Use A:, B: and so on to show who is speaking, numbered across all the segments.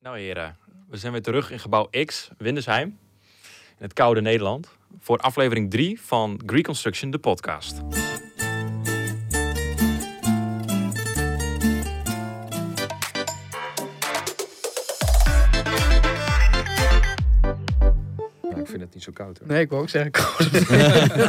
A: Nou heren, we zijn weer terug in gebouw X, Windesheim, in het koude Nederland, voor aflevering 3 van Greek Construction, de podcast.
B: ik vind het niet zo koud hoor.
C: Nee, ik wil ook zeggen koud.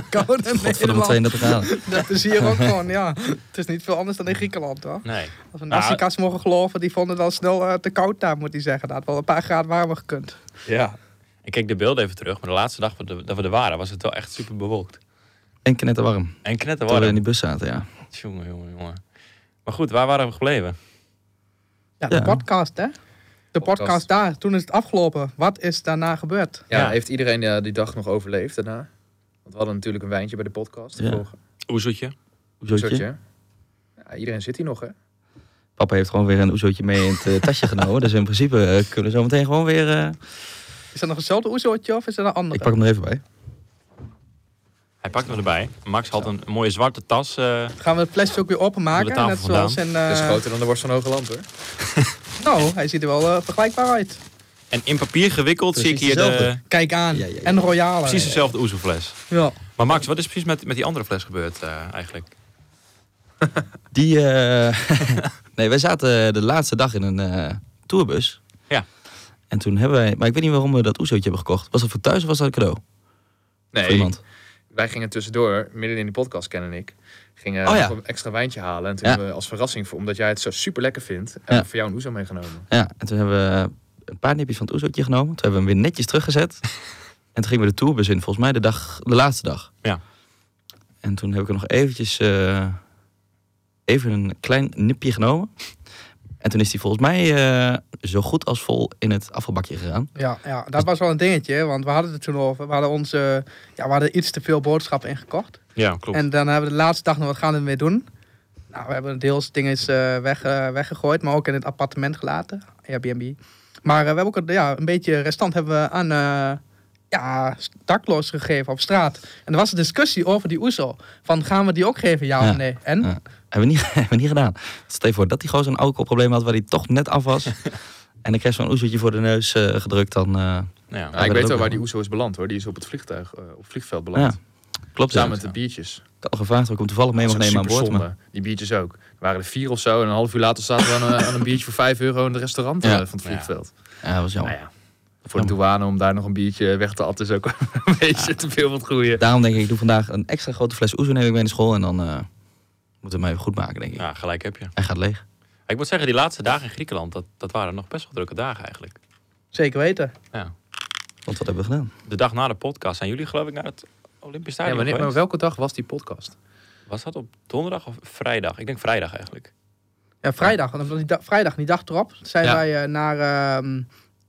C: koud en
D: Godverdomme, 32 graden.
C: Dat is hier ook gewoon, ja. Het is niet veel anders dan in Griekenland, hoor.
A: Nee,
C: Als we
A: Nou,
C: Nassica's mogen geloven, die vonden het al snel eh, te koud daar, moet hij zeggen. Dat had wel een paar graden warmer gekund.
B: Ja.
A: ik keek de beelden even terug, maar de laatste dag dat we- dat we er waren was het wel echt super bewolkt.
D: En knetterwarm.
A: En
D: Toen we in
A: knetterwarm.
D: die bus zaten, ja.
A: Jongen, jongen, jongen. Maar goed, waar waren we gebleven?
C: Ja, de
D: Ja.
C: podcast, hè? De podcast.
B: Podcast.
C: daar, toen is het afgelopen. Wat is daarna gebeurd?
B: Ja,
A: Ja.
B: heeft iedereen eh, die dag nog overleefd daarna? Want we hadden natuurlijk een wijntje bij de podcast.
D: Ja.
B: Ja.
A: Oezoetje.
D: Oezootje.
B: Ja, iedereen zit hier nog, hè?
D: Papa heeft gewoon weer een oezootje mee in het eh, tasje genomen. Dus in principe eh, kunnen we zo meteen gewoon weer... eh,
C: Is dat nog hetzelfde oezootje of is dat een andere?
D: Ik pak hem er even bij.
A: Hij pakte me erbij. Max had een mooie zwarte tas. eh,
C: Gaan we het plastic ook weer
A: Door
C: openmaken?
A: de tafel
C: Net zoals in... eh,
B: Dat is groter dan de worst van Hogeland, hoor.
C: nou, hij ziet er wel eh, vergelijkbaar uit.
A: en in papier gewikkeld zie ik
D: Precies
A: hier de,
D: dezelfde.
C: Kijk aan.
D: Ja, ja, ja.
C: En royale.
A: precies dezelfde oezofles.
C: Ja.
A: Maar Max, wat is precies met, met die andere fles gebeurd eh, eigenlijk?
D: Die... eh, nee, wij zaten de laatste dag in een eh, tourbus.
A: Ja.
D: En toen hebben wij... Maar ik weet niet waarom we dat oezootje hebben gekocht. Was dat voor thuis of was dat een cadeau? Voor
B: Nee,
D: iemand?
B: wij gingen tussendoor, midden in die podcast, Ken en ik, gingen
D: Oh ja.
B: nog een extra wijntje halen. En toen
D: Ja.
B: hebben we als verrassing, voor, omdat jij het zo super lekker vindt, hebben we voor jou een oezo meegenomen.
D: Ja, en toen hebben we een paar nipjes van het oezootje genomen. Toen hebben we hem weer netjes teruggezet. en toen gingen we de tourbus in, volgens mij de, dag, de laatste dag.
A: Ja.
D: En toen heb ik er nog eventjes eh, even een klein nipje genomen. En toen is die volgens mij eh, zo goed als vol in het afvalbakje gegaan.
C: Ja, ja, dat was wel een dingetje, hè, want we hadden het toen over. We hadden, ons, eh, ja, we hadden iets te veel boodschappen ingekocht.
A: Ja, klopt.
C: En dan hebben we de laatste dag nog wat gaan we ermee doen. Nou, we hebben deels dingen eens, eh, weg, eh, weggegooid, maar ook in het appartement gelaten, Airbnb. Maar eh, we hebben ook een- ja, een beetje restant hebben we aan eh ja, dakloos gegeven op straat. En er was een discussie over die OESO. Van gaan we die ook geven, ja,
D: Ja,
C: of nee? En?
D: ja. Hebben we niet, hebben we niet gedaan. Stel je voor dat die gozer een alcoholprobleem had waar hij toch net af was. en ik kreeg zo'n oezootje voor de neus eh, gedrukt. Dan, eh,
A: Ja.
B: Nou, ik
D: dat
B: weet wel
D: ook
B: waar
D: wel.
B: die oezo is beland, hoor. Die is op het vliegtuig, eh, op het vliegveld beland.
D: Ja, klopt.
B: Samen
D: Ja.
B: met de biertjes.
D: Ik had al gevraagd of ik hem toevallig mee
B: Dat
D: mag
B: is
D: nemen aan
B: ook
D: boord. Maar
B: superzonde. Die biertjes ook. Er waren er vier of zo. En een half uur later zaten we aan, een- aan een biertje voor vijf euro in het restaurant
D: Ja.
B: eh, van het
A: Ja.
B: vliegveld.
D: ja, dat was jammer.
B: Nou ja, voor de douane om daar nog een biertje weg te atten is ook een beetje te veel wat groeien.
D: Daarom denk ik, ik doe vandaag een extra grote fles oezo neem ik mee naar school. En dan eh moeten we hem even goed maken, denk ik.
A: ja, gelijk heb je.
D: Hij gaat leeg.
A: Ik moet zeggen, die laatste dagen in Griekenland, dat, dat waren nog best wel drukke dagen eigenlijk.
C: Zeker weten.
A: Ja.
D: Want wat hebben we gedaan?
A: De dag na de podcast zijn jullie geloof ik naar het Olympisch
B: Ja,
A: Stadion
B: maar, niet- maar
A: geweest?
B: welke dag was die podcast?
A: Was dat op donderdag of vrijdag? Ik denk vrijdag eigenlijk.
C: Ja, vrijdag. Want op die dag, vrijdag, die dag erop, zijn
A: Ja.
C: wij eh, naar ehm,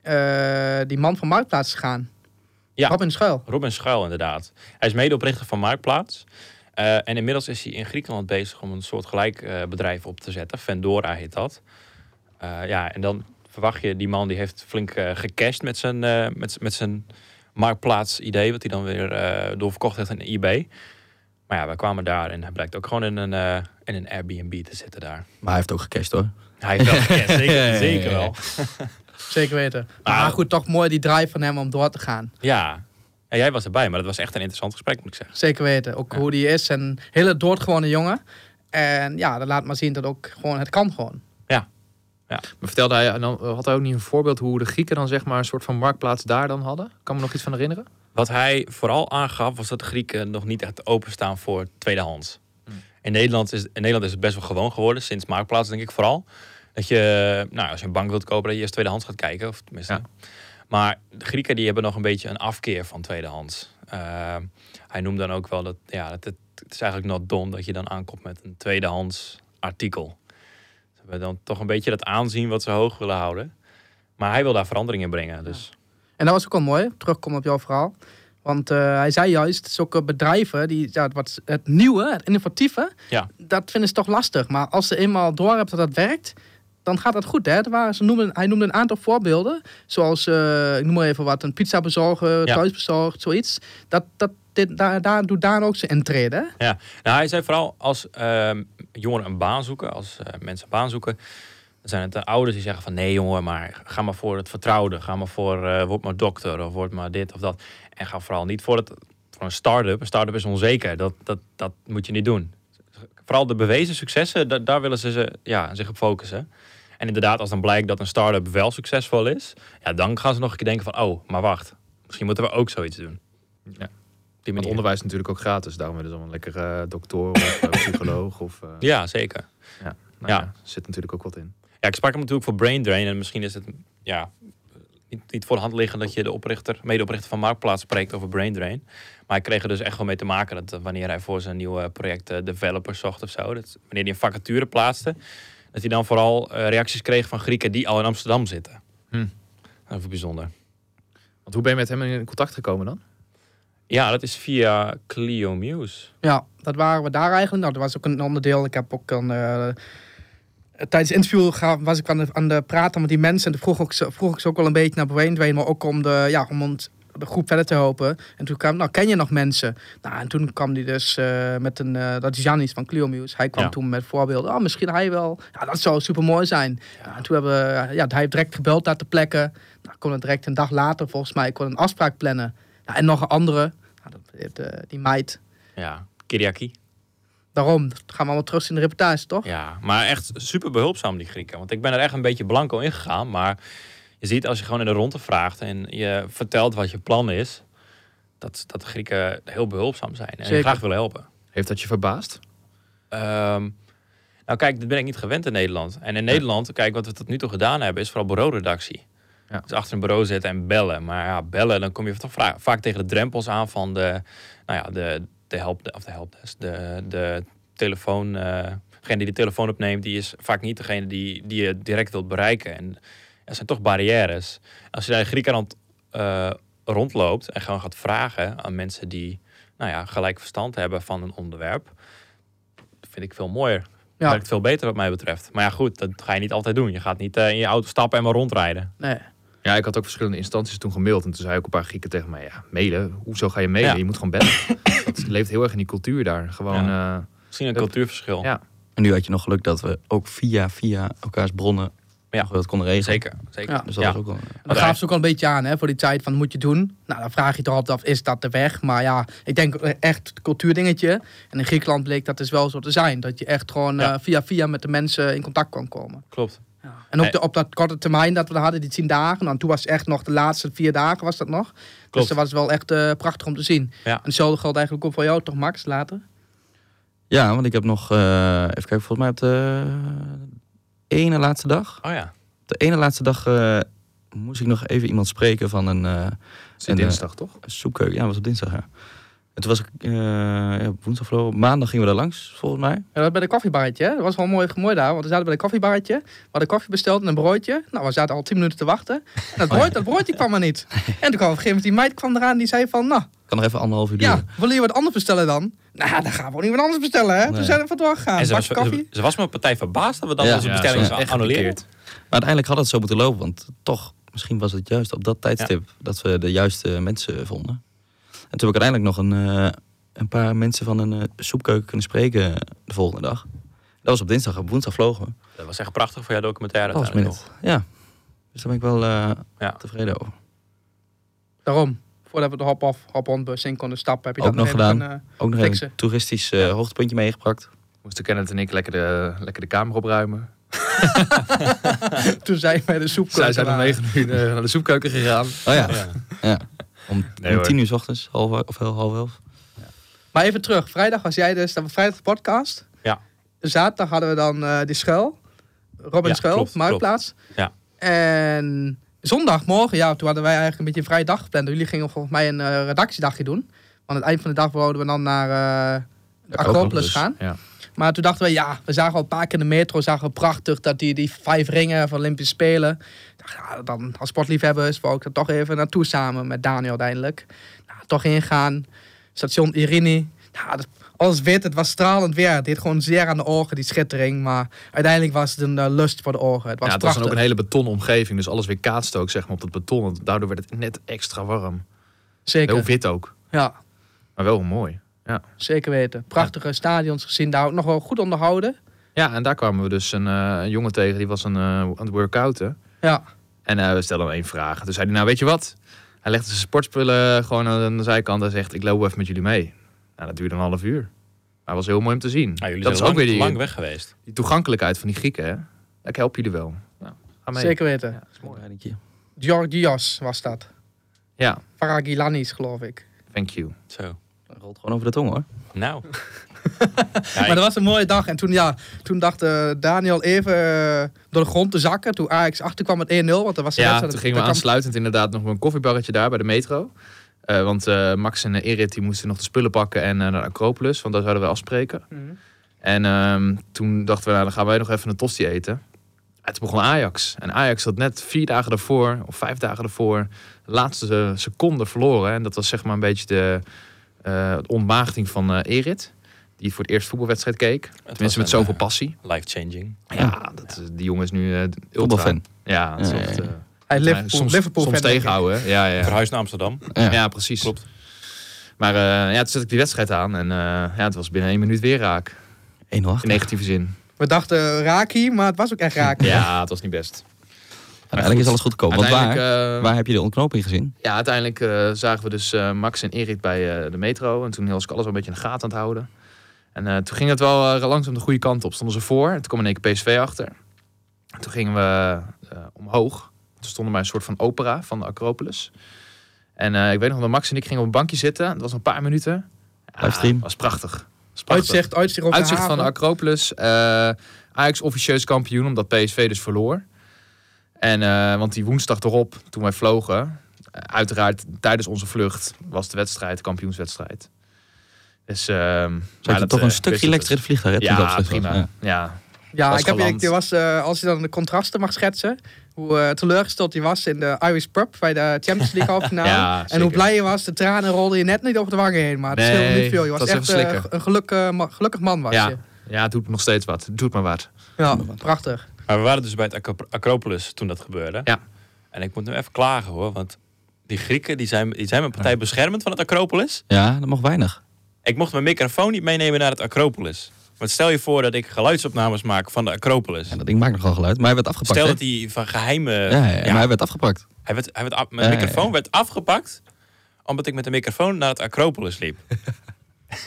C: eh, die man van Marktplaats gegaan.
A: Ja.
C: Robin Schuil.
A: Robin Schuil inderdaad. Hij is medeoprichter van Marktplaats. Eh, en inmiddels is hij in Griekenland bezig om een soort gelijk eh, bedrijf op te zetten. Vendora heet dat. Eh, ja, en dan verwacht je, die man die heeft flink eh, gecashed met zijn, eh, met, z- met zijn Marktplaats idee. Wat hij dan weer eh, doorverkocht heeft aan eBay. Maar ja, we kwamen daar en hij blijkt ook gewoon in een, eh, in een Airbnb te zitten daar.
D: Maar hij heeft ook gecashed hoor.
A: Hij heeft wel gecashed, zeker, zeker wel.
C: Zeker weten.
A: Ah.
C: Maar goed, toch mooi die drive van hem om door te gaan.
A: Ja. En jij was erbij, maar dat was echt een interessant gesprek, moet ik zeggen.
C: Zeker weten. Ook hoe die is. Een hele doodgewone jongen. En ja, dat laat maar zien dat ook gewoon het kan gewoon.
B: Maar vertelde hij, en dan had hij ook niet een voorbeeld hoe de Grieken dan zeg maar een soort van marktplaats daar dan hadden? Kan me nog iets van herinneren?
A: Wat hij vooral aangaf, was dat de Grieken nog niet echt openstaan voor tweedehands. In, Nederland is, in Nederland is het best wel gewoon geworden, sinds Marktplaats denk ik vooral. Dat je, nou, als je een bank wilt kopen, dat je eerst tweedehands gaat kijken. Of tenminste.
B: Ja.
A: Maar de Grieken die hebben nog een beetje een afkeer van tweedehands. Eh, hij noemt dan ook wel dat, ja, dat het, het is eigenlijk not dom dat je dan aankomt met een tweedehands artikel. Ze hebben dan toch een beetje dat aanzien wat ze hoog willen houden. Maar hij wil daar verandering in brengen. Dus
C: En dat was ook wel mooi. Terugkomen op jouw verhaal. Want eh, hij zei juist, zulke bedrijven, die, ja, wat, het nieuwe, het innovatieve,
A: Ja.
C: dat vinden ze toch lastig. Maar als ze eenmaal door hebben dat dat werkt, dan gaat dat goed. Hè? Er waren, ze noemden, hij noemde een aantal voorbeelden, zoals, eh, ik noem maar even wat, een pizza bezorgen,
A: Ja.
C: thuis bezorgd, zoiets. Dat, dat, dit, daar, daar doet Daan ook zijn intrede. hè?
A: Ja, nou, hij zei vooral als ehm, jongeren een baan zoeken, als eh, mensen een baan zoeken, Dan zijn het de ouders die zeggen van nee jongen, maar ga maar voor het vertrouwde. Ga maar voor, eh, word maar dokter of word maar dit of dat. En ga vooral niet voor, het, voor een start-up. Een start-up is onzeker. Dat, dat, dat moet je niet doen. Vooral de bewezen successen, da- daar willen ze, ze ja, zich op focussen. En inderdaad, als dan blijkt dat een start-up wel succesvol is, ja, dan gaan ze nog een keer denken van, oh, maar wacht, misschien moeten we ook zoiets doen.
B: Ja.
A: Op Die
B: Want
A: manier.
B: onderwijs is natuurlijk ook gratis. Daarom willen ze allemaal een lekkere dokter of eh, psycholoog. Of, eh,
A: Ja, zeker.
B: nou
A: ja.
B: ja, zit natuurlijk ook wat in.
A: Ja, ik sprak hem natuurlijk voor Brain Drain. En misschien is het ja, niet, niet voor de hand liggend dat je de oprichter, medeoprichter van Marktplaats spreekt over Brain Drain. Maar hij kreeg er dus echt wel mee te maken dat eh, wanneer hij voor zijn nieuwe project eh, developers zocht of zo, dat wanneer hij een vacature plaatste, dat hij dan vooral eh, reacties kreeg van Grieken die al in Amsterdam zitten.
B: Hm.
A: Even bijzonder.
B: Want hoe ben je met hem in contact gekomen dan?
A: Ja, dat is via Clio Muse.
C: Ja, dat waren we daar eigenlijk. Nou, dat was ook een onderdeel. Ik heb ook een. eh, tijdens het interview ga- was ik aan de, aan de praten met die mensen. En toen vroeg ik, ze- vroeg ik ze ook wel een beetje naar Brain Drain, maar ook om de, ja, om ons, de groep verder te helpen. En toen kwam, nou, ken je nog mensen? Nou, en toen kwam die dus eh, met een, eh, dat is Janis van Clio Muse. Hij kwam
A: Ja.
C: toen met voorbeelden, oh, misschien hij wel. Ja, dat zou super mooi zijn. Nou, en toen hebben we, ja, hij heeft direct gebeld daar te plekken. Nou, kon het direct een dag later volgens mij, ik kon een afspraak plannen. Nou, en nog een andere, nou, dat, heeft, eh, die meid.
A: Ja, Kiriaki.
C: Daarom, dat gaan we allemaal terug in de reportage, toch?
A: Ja, maar echt super behulpzaam die Grieken. Want ik ben er echt een beetje blanco in gegaan. Maar je ziet als je gewoon in de ronde vraagt en je vertelt wat je plan is, dat, dat de Grieken heel behulpzaam zijn en je
C: Zeker.
A: graag willen helpen.
B: Heeft dat je verbaasd?
A: Ehm, nou kijk, dat ben ik niet gewend in Nederland. En in Nederland, kijk, wat we tot nu toe gedaan hebben, is vooral bureauredactie.
B: Ja.
A: Dus achter een bureau zitten en bellen. Maar ja, bellen, dan kom je toch vra- vaak tegen de drempels aan van de, nou ja, de, de help, of de helpdesk, de, de telefoon, eh, degene die de telefoon opneemt, die is vaak niet degene die, die je direct wilt bereiken. En er zijn toch barrières. Als je daar in Griekenland eh, rondloopt en gewoon gaat vragen aan mensen die, nou ja, gelijk verstand hebben van een onderwerp, vind ik veel mooier.
C: Ja.
A: Werkt veel beter wat mij betreft. Maar ja, goed, dat ga je niet altijd doen. Je gaat niet eh, in je auto stappen en maar rondrijden.
C: Nee.
B: Ja, ik had ook verschillende instanties toen gemaild. En toen zei ook een paar Grieken tegen mij, ja, mailen? Hoezo ga je mailen?
A: Ja.
B: Je moet gewoon bellen. dat leeft heel erg in die cultuur daar. Gewoon, eh,
A: Misschien een
B: Dat-
A: cultuurverschil.
B: ja.
D: En nu had je nog geluk dat we ook via, via elkaars bronnen
A: Ja.
D: nog wat konden regelen.
A: Zeker, zeker.
C: Ja.
D: Dus dat
A: Ja.
D: was ook wel...
C: Dan gaven ze ook al een beetje aan hè, voor die tijd van moet je doen. Nou, dan vraag je toch altijd af, is dat de weg? Maar ja, ik denk echt cultuurdingetje. En in Griekenland bleek dat dus wel zo te zijn. Dat je echt gewoon
A: Ja.
C: eh, via via met de mensen in contact kon komen.
A: Klopt.
C: En ook
A: Nee.
C: de, op dat korte termijn dat we hadden, die tien dagen. Dan toen was het echt nog de laatste vier dagen was dat nog. Dus
A: Klopt.
C: dat was wel echt eh, prachtig om te zien.
A: Ja.
C: En hetzelfde geldt eigenlijk ook voor jou toch Max, later?
D: Ja, want ik heb nog... eh, even kijken, volgens mij op de ene laatste dag...
A: Oh ja.
D: Op de ene laatste dag eh, moest ik nog even iemand spreken van een... eh,
B: het is
D: En, eh,
B: dinsdag, toch?
D: soepkeuken. Ja, dat was op dinsdag, ja. En toen was ik eh, ja, woensdag of op maandag gingen we daar langs, volgens mij.
C: Ja, dat bij de koffiebarretje. hè. Dat was wel mooi, mooi daar. Want we zaten bij de koffiebarretje. We hadden koffie besteld en een broodje. Nou, we zaten al tien minuten te wachten. En dat, brood, dat broodje kwam er niet. En toen kwam op een gegeven moment die meid kwam eraan. Die zei van, nou,
D: Kan nog even anderhalf uur
C: ja,
D: duren.
C: willen jullie wat anders bestellen dan? Nou, dan gaan we ook niet wat anders bestellen, hè.
D: Nee.
C: Toen zijn we vandoor gegaan.
A: en
C: Een
A: ze was,
C: bakje
A: ze,
C: koffie.
A: ze was me een partij verbaasd dat we dan
D: Ja,
A: onze
D: ja,
A: bestelling
D: ze
A: ja,
B: was echt
A: annuleren.
B: gepikeerd.
D: Maar uiteindelijk had het zo moeten lopen, want toch, misschien was het juist op dat tijdstip dat we de juiste mensen vonden. En toen heb ik uiteindelijk nog een, eh, een paar mensen van een eh, soepkeuken kunnen spreken de volgende dag. Dat was op dinsdag, op woensdag vlogen we.
A: Dat was echt prachtig voor jouw documentaire.
D: Last
A: uiteindelijk
D: minute. Ja, dus daar ben ik wel eh,
A: Ja.
D: tevreden over.
C: Daarom. Voordat we de hop-off, hop-on-bus in konden stappen, heb je
D: Ook
C: dat
D: nog
C: even
D: gedaan.
C: kunnen-
D: Ook nog even
C: Fixen.
D: een toeristisch eh, hoogtepuntje meegebracht.
B: Moesten Kenneth en ik lekker de, lekker de kamer opruimen.
C: eh, toen zijn we bij de soep
B: Zij zijn om negen uur eh, naar de soepkeuken gegaan.
D: Oh ja,
A: nog.
D: ja.
A: Ja.
D: om,
B: Nee,
D: om
B: hoor.
D: tien uur s ochtends, half, of half elf.
C: Maar even terug. Vrijdag was jij dus, dat was vrijdag de podcast.
A: Ja.
C: Zaterdag hadden we dan eh, die schuil. Robin
A: Ja,
C: Schuil,
A: klopt,
C: Marktplaats.
A: klopt.
C: En zondagmorgen, ja, toen hadden wij eigenlijk een beetje een vrije dag gepland. Jullie gingen volgens mij een eh, redactiedagje doen. Want aan het eind van de dag wilden we dan naar eh de
D: ook nog
C: Acropolis
D: dus,
C: gaan.
B: ja.
C: Maar toen dachten we, ja, we zagen al een paar keer in de metro, zagen we prachtig dat die, die vijf ringen van Olympische Spelen. Ik dacht, nou, dan als sportliefhebbers wou ik er toch even naartoe samen met Daniel uiteindelijk. Nou, toch ingaan, station Irini. Nou, dat- alles wit, het was stralend weer. Het deed gewoon zeer aan de ogen, die schittering. Maar uiteindelijk was het een eh, lust voor de ogen. Het was
B: ja, het was
C: prachtig.
B: dan ook een hele betonnen omgeving. Dus alles weer kaatste ook zeg maar, op dat beton. En daardoor werd het net extra warm. Heel
C: Zeker,
B: wit ook.
C: ja,
B: Maar wel mooi.
C: zeker weten. Prachtige stadions gezien, daar ook nog wel goed onderhouden.
B: Ja, en daar kwamen we dus een, eh, een jongen tegen, die was een, eh, aan het workouten.
C: Ja.
B: En eh, we stelden hem één vraag. Toen zei hij, nou weet je wat? Hij legde zijn sportspullen gewoon aan de zijkant en zegt, ik loop wel even met jullie mee. Nou, dat duurde een half uur. Maar het was heel mooi om te zien.
A: Nou, jullie
B: dat is
A: zijn
B: ook weer
A: lang,
B: die,
A: lang weg geweest.
B: die toegankelijkheid van die Grieken, hè? Ik help jullie wel. Nou, ga mee.
C: Zeker weten.
B: Ja, dat is mooi.
D: Rijdingje.
C: Georgios was dat.
B: Ja,
C: Paragilanis, geloof ik.
B: thank you.
A: Zo.
D: Dat rolt gewoon over de tong hoor.
A: Nou.
C: Maar dat was een mooie dag. En toen, ja, toen dacht eh, Daniel even eh, door de grond te zakken. Toen Ajax achterkwam met 1-0. Want dat was de
B: Ja,
C: wedstrijd.
B: toen gingen we
C: Daar kwam-
B: aansluitend inderdaad nog een koffiebarretje daar bij de metro. Eh, want eh, Max en eh, Erit die moesten nog de spullen pakken en eh, naar de Acropolis, want daar zouden we afspreken.
C: Mhm.
B: En ehm, toen dachten we, nou, dan gaan wij nog even een tosti eten. En toen begon Ajax. En Ajax had net vier dagen daarvoor, of vijf dagen daarvoor, de laatste eh, seconde verloren. En dat was zeg maar een beetje de eh, de ontmaagding van eh, Erit. Die voor het eerst voetbalwedstrijd keek. Tenminste met
A: eh,
B: zoveel passie.
A: Life changing.
B: Ja, dat, is- die jongen is nu eh ultra.
D: Voetbalfan.
B: Ja, dat is
D: Ja, ja,
B: echt,
D: ja.
B: eh, volgens mij
C: Hij Liverpool,
B: soms,
C: Liverpool
B: soms
C: fan, denk ik.
B: tegenhouden. hè? Ja, ja, ja.
A: Verhuis naar Amsterdam.
D: Ja.
B: Ja, precies.
A: Klopt.
B: Maar eh, ja, toen zet ik die wedstrijd aan en eh, ja, het was binnen één minuut weer raak.
D: 1
B: In negatieve zin.
C: We dachten eh, Raki, maar het was ook echt Raki.
B: Ja, het was niet best.
D: Uiteindelijk is alles goed gekomen. Want waar,
B: Uiteindelijk, eh,
D: waar heb je de ontknoping gezien?
B: ja, uiteindelijk eh, zagen we dus eh, Max en Erik bij eh, de metro. En toen was ik alles wel een beetje in de gaten aan het houden. En eh, toen ging het wel eh, langzaam de goede kant op. Stonden ze voor en toen kwam in één keer PSV achter. En toen gingen we eh, omhoog. Toen stonden bij een soort van opera van de Acropolis. En eh, ik weet nog dat Max en ik gingen op een bankje zitten. Dat was een paar minuten. Ja,
D: Livestream.
B: was prachtig. Was prachtig.
C: Uitzicht, uitzicht op
B: Uitzicht
C: de
B: van de
C: haven.
B: Acropolis. eh Ajax officieus kampioen, omdat PSV dus verloor. En, eh, want die woensdag erop, toen wij vlogen... eh, Uiteraard, tijdens onze vlucht was de wedstrijd, kampioenswedstrijd. Dus, ehm, maar
D: Zou je
B: dat,
D: toch
B: eh,
D: een
B: wist
D: stukje
B: het
D: elektrisch vliegtuig? hè, toen dat
B: Ja,
D: vliegtuig was?
B: prima.
D: Ja.
B: Ja. Ja.
C: Ja,
B: was
C: ik heb,
B: geland.
C: ik die was, eh, als je dan de contrasten mag schetsen, hoe eh, teleurgesteld hij was in de Irish pub bij de Champions League halve finale.
B: Ja,
C: en
B: zeker.
C: hoe blij je was, de tranen rolden je net niet over de wangen heen. Maar het
B: Nee,
C: scheelde niet veel. Je
B: het
C: was
B: was
C: echt
B: even
C: eh,
B: slikken.
C: een geluk, eh, ma- gelukkig man was je.
B: Ja. het doet nog steeds wat. Het doet maar wat.
C: Ja, prachtig.
A: Maar we waren dus bij het Acro- Acropolis toen dat gebeurde.
B: Ja.
A: En ik moet nu even klagen hoor, want die Grieken die zijn, die zijn mijn partij beschermend van het Acropolis.
D: ja, dat mag weinig.
A: Ik mocht mijn microfoon niet meenemen naar het Acropolis. Want stel je voor dat ik geluidsopnames maak van de Acropolis.
D: Ja, dat ding maakt nogal geluid. Maar hij werd afgepakt.
A: Stel
D: hè?
A: dat die van geheime...
B: eh,
D: ja, ja, maar hij werd afgepakt.
A: hij werd, hij werd af- mijn
D: Ja, ja, ja.
A: microfoon werd afgepakt omdat ik met de microfoon naar het Acropolis liep.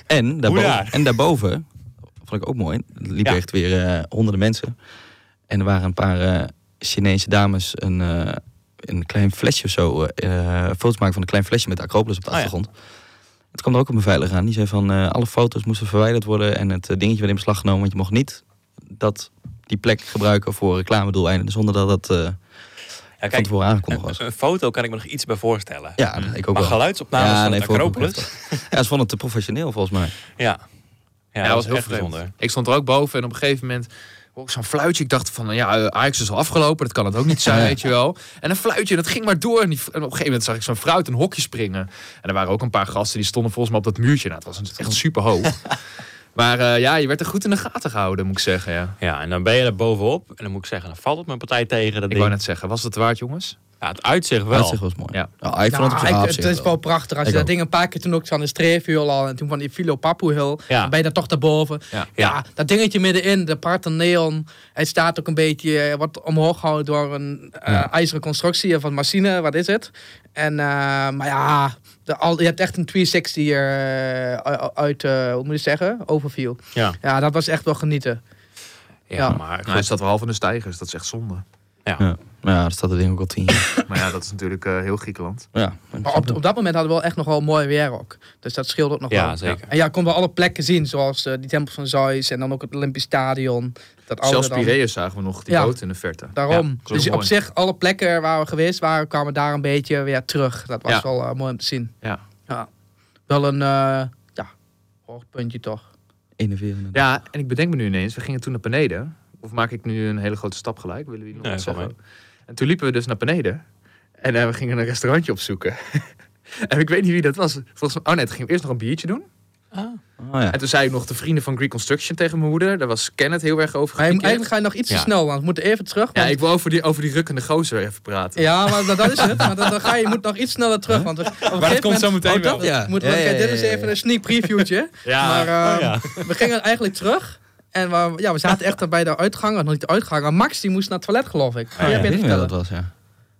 D: En daarboven,
A: Hoera.
D: en daarboven, vond ik ook mooi, liepen
A: Ja.
D: echt weer eh, honderden mensen. En er waren een paar eh, Chinese dames een, eh, een klein flesje of zo, eh, eh, foto's maken van een klein flesje met de Acropolis op de
A: Oh ja.
D: achtergrond. Het kwam er ook op een veiliger aan. Die zei van, eh, alle foto's moesten verwijderd worden en het eh, dingetje werd in beslag genomen, want je mocht niet dat die plek gebruiken voor reclamedoeleinden, zonder dat dat eh
A: Ja,
D: van
A: kijk,
D: tevoren aangekondigd was.
A: een, een foto kan ik me nog iets bij voorstellen.
D: Ja, ik ook
A: maar
D: wel.
A: geluidsopnames
D: Ja,
A: van
D: nee,
A: het
D: vond ik ook
A: Acropolis?
D: heftig. Ja, ze vonden het te professioneel volgens
A: Ja.
D: mij.
A: Ja,
B: Ja,
A: dat
B: dat
A: was
B: was heel
A: echt
B: vreemd.
A: bijzonder.
B: Ik stond er ook boven en op een gegeven moment hoor ik zo'n fluitje. Ik dacht van, ja, eh, Ajax is al afgelopen. Dat kan het ook niet zijn,
D: Ja.
B: weet je wel. En een fluitje, dat ging maar door. En, die, en op een gegeven moment zag ik zo'n vrouw uit een hokje springen. En er waren ook een paar gasten die stonden volgens mij op dat muurtje. Nou, het was echt super hoog. maar eh, ja, je werd er goed in de gaten gehouden, moet ik zeggen, ja.
A: Ja, en dan ben je er bovenop. En dan moet ik zeggen, dan valt het mijn partij tegen. Dat
B: Ik wou
A: ding.
B: net zeggen, was dat waard, jongens?
A: Ja, het uitzicht wel.
D: Dat zich was mooi.
B: Ja.
D: Nou, ik vond het
C: Ja,
D: op zich-
C: ik-
D: ah, op
C: het
D: zich
C: is wel prachtig. Als je
D: Ik
C: dat
D: ook.
C: ding een paar keer toen ook van de streefhuur al en toen van die Filo Papu Hill,
A: Ja.
C: dan ben je daar toch daarboven.
B: Ja.
C: Ja, dat dingetje middenin, de parte neon. Hij staat ook een beetje eh, wat omhoog gehouden door een eh, ijzeren constructie eh, van machine, wat is het? En, eh, maar ja, de, al, je hebt echt een 360 eh, u- uit, eh, hoe moet je zeggen, overview.
A: Ja.
C: Ja, dat was echt wel genieten.
A: Ja,
C: Ja.
A: maar goed.
B: Nou, hij staat wel half in de stijgers. Dat is echt zonde.
D: Ja, ja dat staat er denk ik ook al tien jaar.
B: Maar ja, dat is natuurlijk eh, heel Griekenland.
D: ja.
C: Maar op, op dat moment hadden we wel echt nog wel mooi weer ook. Dus dat scheelde ook nog
A: Ja,
C: wel.
A: zeker.
C: En ja, ik kon wel alle plekken zien, zoals eh, die Tempel van Zeus en dan ook het Olympisch Stadion. Dat oude
B: Zelfs
C: dan.
B: Piraeus zagen we nog, die
C: Ja.
B: boot in de verte.
C: Daarom.
B: Ja,
C: dus
B: zo
C: op
B: mooi.
C: zich, alle plekken waar we geweest waren, kwamen daar een beetje weer terug. Dat was
B: Ja.
C: wel eh, mooi om te zien.
B: Ja.
C: Ja. Wel een, eh ja, hoogpuntje toch.
D: 41.
B: Ja, en ik bedenk me nu ineens, we gingen toen naar beneden. Of maak ik nu een hele grote stap gelijk? Willen jullie nog
A: Nee,
B: wat
A: valt
B: zeggen? En toen liepen we dus naar beneden. En eh, we gingen een restaurantje opzoeken. en ik weet niet wie dat was. Volgens mij, oh nee, toen gingen we eerst nog een biertje doen.
D: Oh, ja.
B: En toen zei ik nog de vrienden van Greek Construction tegen mijn moeder. Daar was Kenneth heel erg over
C: Maar je-
B: gepikeerd.
C: eigenlijk ga je nog iets
A: Ja.
C: te snel, want we moeten even terug.
B: Ja,
C: want-
B: ik wil over die, over die rukkende gozer even praten.
C: Ja, maar dat, dat is het. Want dan, dan ga je, je moet nog iets sneller terug. Want maar
A: komt zo meteen wel.
D: Ja.
C: Moeten we,
D: Ja, ja,
C: kijk, dit
D: ja,
C: is
D: ja, ja.
C: even een sneak previewtje. Maar eh,
A: Oh ja.
C: we gingen eigenlijk terug. En we, ja, we zaten echt bij de uitgang, nog niet de uitgang. maar Max die moest naar het toilet, geloof ik.
A: ja.
C: Jij bent
D: Ik weet niet meer
C: vertellen.
D: wat dat was, ja.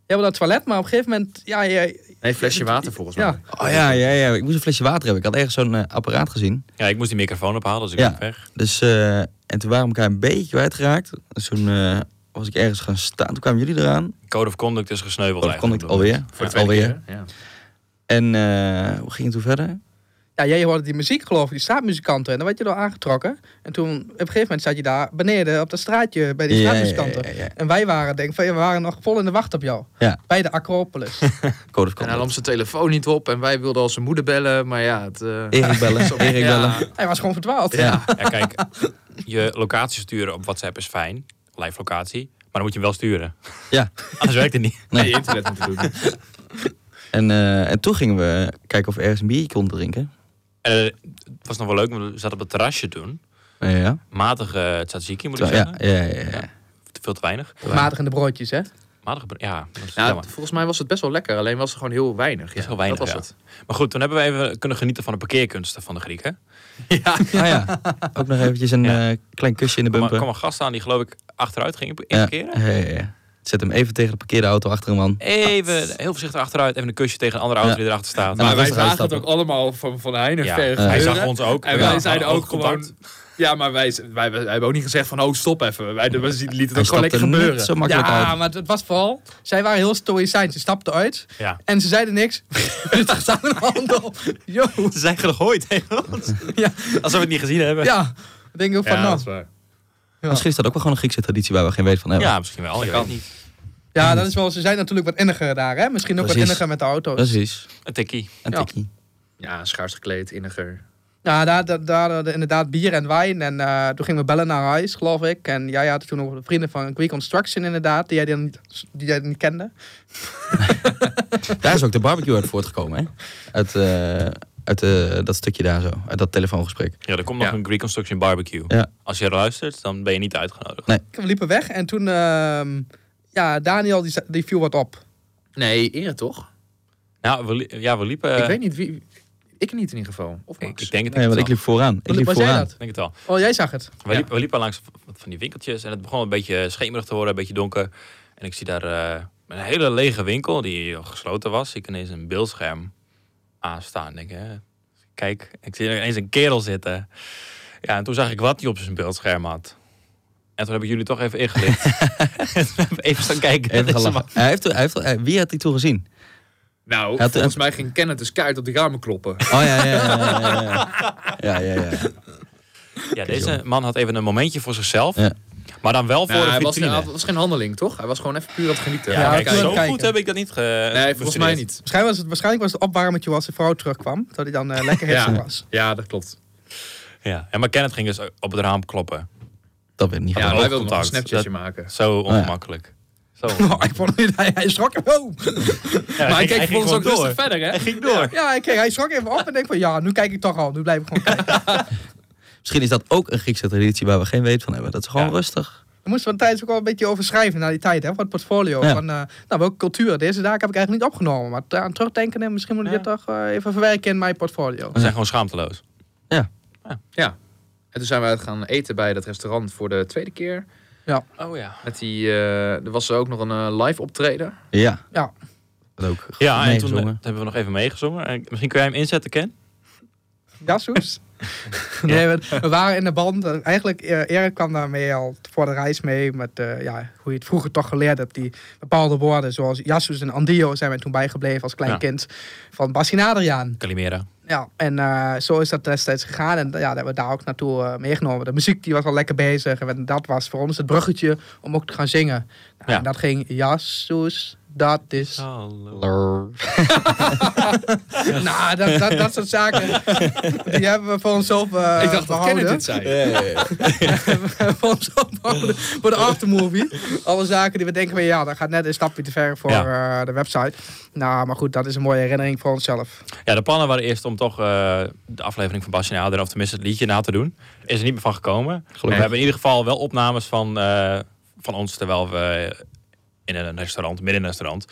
C: Jij wil naar het toilet, maar op een gegeven moment... Ja, je,
B: Nee, flesje water volgens mij.
C: ja.
D: Oh ja, ja, ja. Ik moest een flesje water hebben. Ik had ergens zo'n eh, apparaat gezien.
A: Ja, ik moest die microfoon ophalen, dus ik
D: Ja.
A: ben weg.
D: Dus, eh, en toen waren we elkaar een beetje kwijtgeraakt. Dus toen eh, was ik ergens gaan staan. Toen kwamen jullie eraan.
A: Code of conduct is gesneuveld.
D: Code of
A: eigenlijk
D: conduct
A: op dat
D: alweer.
A: moment.
B: Voor
A: Ja.
B: de tweede
D: Alweer.
B: keer, Ja.
D: En eh, hoe ging het toen verder?
C: ja, jij hoorde die muziek, geloof ik, die straatmuzikanten. En dan werd je door aangetrokken. En toen, op een gegeven moment zat je daar beneden op dat straatje bij die
D: Ja,
C: straatmuzikanten.
D: ja, ja, ja.
C: En wij waren, denk ik, van, ja, we waren nog vol in de wacht op jou.
D: Ja.
C: Bij de Acropolis.
D: Code
B: En hij
D: of
B: nam
D: conduct.
B: zijn telefoon niet op en wij wilden al zijn moeder bellen, maar ja, het... eh,
D: Erik bellen. Erik
B: ja.
D: bellen.
C: Hij was gewoon verdwaald.
D: Ja.
A: Ja, kijk, je locatie sturen op WhatsApp is fijn. Live locatie. Maar dan moet je hem wel sturen.
D: Ja.
A: Anders werkt het niet.
B: Nee, internet moeten doen.
D: En, eh, en toen gingen we kijken of we ergens een biertje konden drinken.
A: Eh, het was nog wel leuk, want we zaten op het terrasje toen.
D: Ja, ja.
A: Matige eh, tzatziki, moet ik
D: Terwijl-
A: zeggen.
D: ja, ja, ja, ja.
A: Te- Veel te weinig.
C: Of Matig in de broodjes, hè?
A: Matige, ja, dat is
B: Nou,
A: jammer.
B: volgens mij was het best wel lekker, alleen was er gewoon heel weinig. Ja,
A: is heel weinig,
B: dat
A: ja.
B: was
A: Maar goed, toen hebben we even kunnen genieten van de parkeerkunsten van de Grieken.
B: het. Ja.
D: Ah ja, ook nog eventjes een
A: Ja.
D: eh, klein kusje in de
A: Er kwam-
D: bumper.
A: kwam een gast aan die geloof ik achteruit ging
D: ja.
A: parkeren.
D: Ja, ja, ja. Zet hem even tegen de parkeerde auto achter een man.
A: Even heel voorzichtig achteruit, even een kusje tegen een andere auto
D: Ja.
A: die erachter staat.
D: Maar
E: Maar wij
D: rustig
E: zagen het
D: uitstappen.
E: ook allemaal van, van Heine
A: Ja,
E: ver.
A: hij
E: gebeuren.
A: zag ons ook.
E: En
A: We
E: wij
A: hadden
E: zeiden ook
A: oogcontact.
E: gewoon... Ja, maar wij, wij, wij hebben ook niet gezegd van, oh stop even. Wij, wij lieten
D: Hij
E: het gewoon
D: stapt
E: lekker
D: er
E: gebeuren.
D: niet zo makkelijk
C: ja,
D: uit.
C: maar het was vooral... Zij waren heel stoïcijns. Ze stapten uit
A: Ja.
C: en ze zeiden niks. Het staat een hand op. Yo.
A: Ze zijn gegooid tegen ons.
C: Ja.
A: Alsof we het niet gezien hebben.
C: Ja, ik denk ook van
E: Ja,
C: nou.
E: dat is waar.
D: Misschien is dat ook wel gewoon een Griekse traditie waar we geen weet van hebben.
A: Ja, misschien wel. Je weet niet.
C: Ja, dat is wel. Ze zijn natuurlijk wat inniger daar, hè? Misschien ook wat
D: Precies. Dus-
C: inniger met de auto's.
D: Precies.
A: Een tikkie.
D: Een
C: Ja.
D: tikkie.
B: ja, schaars gekleed, inniger.
C: Ja, daar, daar, daar hadden we inderdaad bier en wijn. En eh, toen gingen we bellen naar huis, geloof ik. En jij had toen nog de vrienden van Quick Construction, inderdaad, die jij dan niet, die jij niet kende.
D: Daar is ook de barbecue uit voortgekomen, hè? Uit, eh, uit eh, dat stukje daar zo. Uit dat telefoongesprek.
A: Ja, er komt nog
B: Ja.
A: een Reconstruction barbecue.
D: Ja.
A: Als je luistert, dan ben je niet uitgenodigd.
C: We liepen weg en toen. ehm, ja, Daniel die, die viel wat op.
B: Nee, eerder toch?
A: Nou, we, li- ja, we liepen...
E: Eh.
B: Ik weet niet wie... Ik niet in ieder geval. Of
A: ik,
B: Max.
A: ik denk het,
D: Nee,
A: ik
D: want
A: het wel.
D: ik liep vooraan. Ik
C: Was-
D: liep
C: was jij
D: vooraan.
C: dat?
A: Ik denk het wel.
C: Oh, jij zag het.
A: We,
B: Ja.
A: liepen, we liepen langs wat van die winkeltjes en het begon een beetje schemerig te worden, een beetje donker. En ik zie daar eh, een hele lege winkel die gesloten was. Ik ineens een beeldscherm aanstaan. Ik Denk, hè? Kijk, ik zie er ineens een kerel zitten. Ja, en toen zag ik wat hij op zijn beeldscherm had. En toen hebben jullie toch even ingelicht. En toen hebben we even staan kijken.
D: Even
A: Dat is
D: gelachen. Hij heeft, hij heeft, hij- wie had die toen gezien?
E: Nou,
D: het-
E: volgens mij ging Kenneth dus keihard op de ramen kloppen. Nou,
D: Oh ja, ja, ja. Ja, ja, ja. ja, ja, ja.
A: Ja, deze man had even een momentje voor zichzelf.
D: Ja.
A: Maar dan wel voor
E: Nou,
A: een
E: hij was,
A: vitrine.
E: hij was geen handeling, toch? Hij was gewoon even puur aan het genieten.
A: ja,
C: Ja,
A: kijk,
C: toen-
A: zo
C: kijken.
A: goed heb ik dat niet ge...
E: Nee, volgens mij
A: bestudeerd.
E: niet.
C: Waarschijnlijk was het, waarschijnlijk was het opwarmetje als de vrouw terugkwam. Dat hij dan eh, lekker hitsig
E: Ja.
C: was.
E: ja, dat klopt.
A: Ja. En maar Kenneth ging dus op het raam kloppen.
D: Dat werd niet
E: Ja,
D: gedaan.
E: wij wilden nog een
A: oogcontact.
E: snapchatje maken.
A: Zo
D: ja.
A: ongemakkelijk. Zo
C: Oh, ik vond het, hij, hij schrok. Wow.
E: maar hij keek volgens ook rustig verder, hè?
A: ging door.
C: Ja, ik, hij schrok even op en denk van ja, nu kijk ik toch al. Nu blijf ik gewoon kijken.
D: Misschien is dat ook een Griekse traditie waar we geen weet van hebben. Dat is gewoon
A: Ja.
D: rustig.
C: Daar moesten we tijdens ook wel een beetje over schrijven naar die tijd, hè, voor het portfolio.
D: Ja.
C: Van, eh, nou, welke cultuur? Deze zaak heb ik eigenlijk niet opgenomen. Maar te- aan terugdenken, en misschien moet ik
A: Ja.
C: dit toch eh, even verwerken in mijn portfolio.
A: We zijn gewoon schaamteloos.
B: Ja. En toen zijn we gaan eten bij dat restaurant voor de tweede keer.
A: Oh ja.
B: Met die, eh, er was ook nog een eh, live optreden.
D: Ja.
C: Ja.
D: Dat ook.
A: Ja, en toen, eh,
D: meegezongen.
A: toen hebben we nog even meegezongen. En misschien kun jij hem inzetten, Ken?
C: Ja, Soes? nee, we, we waren in de band. Eh, Eigenlijk, eh, Erik kwam daarmee al voor de reis mee. Met eh, ja, hoe je het vroeger toch geleerd hebt. Die bepaalde woorden, zoals Jassus en Andio, zijn wij toen bijgebleven als klein
A: Ja.
C: kind. Van Bassin Adriaan.
A: Calimera.
C: Ja, en eh, zo is dat destijds gegaan. En ja, dat hebben we daar ook naartoe eh, meegenomen. De muziek die was al lekker bezig. En dat was voor ons het bruggetje om ook te gaan zingen. Nou,
A: Ja.
C: En dat ging Jassus, dat is... Nou, dat, dat, dat soort zaken, die hebben we voor onszelf eh
E: ik dacht, dat Kenneth
C: behouden.
E: dit zei.
C: voor onszelf behouden voor de aftermovie. Alle zaken die we denken, van, ja, dat gaat net een stapje te ver voor eh, de website. Nou, maar goed, dat is een mooie herinnering voor onszelf.
A: Ja, de plannen waren eerst om toch eh, de aflevering van Bastien Adler, of tenminste het liedje na te doen. Is er niet meer van gekomen. We hebben in ieder geval wel opnames van, eh, van ons terwijl we in een restaurant, midden in een restaurant,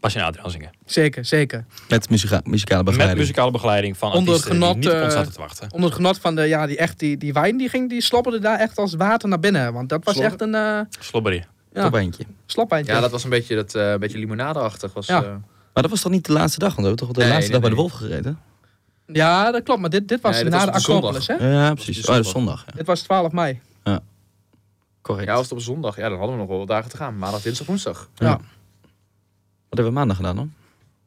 A: Pas in Adriaansingen.
C: Zeker, zeker.
D: Met muzika muzikale
A: Met
D: begeleiding.
A: muzikale begeleiding van
C: Onder
A: artiesten
C: genot,
A: die niet op ons
C: eh,
A: zaten te wachten.
C: Onder het genot van de, ja, die echt, die, die wijn, die ging, die slopperde daar echt als water naar binnen. Want dat was
B: Slobber-
C: echt een eh
A: Slobberie.
C: ja.
D: Topbeentje.
C: slapwijntje.
B: Ja, dat was een beetje, dat, eh, een beetje limonadeachtig. Was,
C: Ja.
B: eh,
D: Maar dat was toch niet de laatste dag? Want we hebben toch wel de
B: Nee,
D: laatste
B: nee,
D: dag bij
B: nee.
D: de Wolf gereden?
C: Ja, dat klopt. Maar dit, dit was
B: Nee, dit
C: na
B: was
C: de
B: op de zondag.
C: Acropolis, hè?
B: die
D: Ja, precies. Oh,
B: zondag.
D: dat is zondag. Ja.
C: Dit was 12 mei.
D: Correct.
B: ja, was het op zondag? Ja, dan hadden we nog wel wat dagen te gaan. Maandag, dinsdag, woensdag.
C: Ja.
D: Wat hebben we maandag gedaan dan?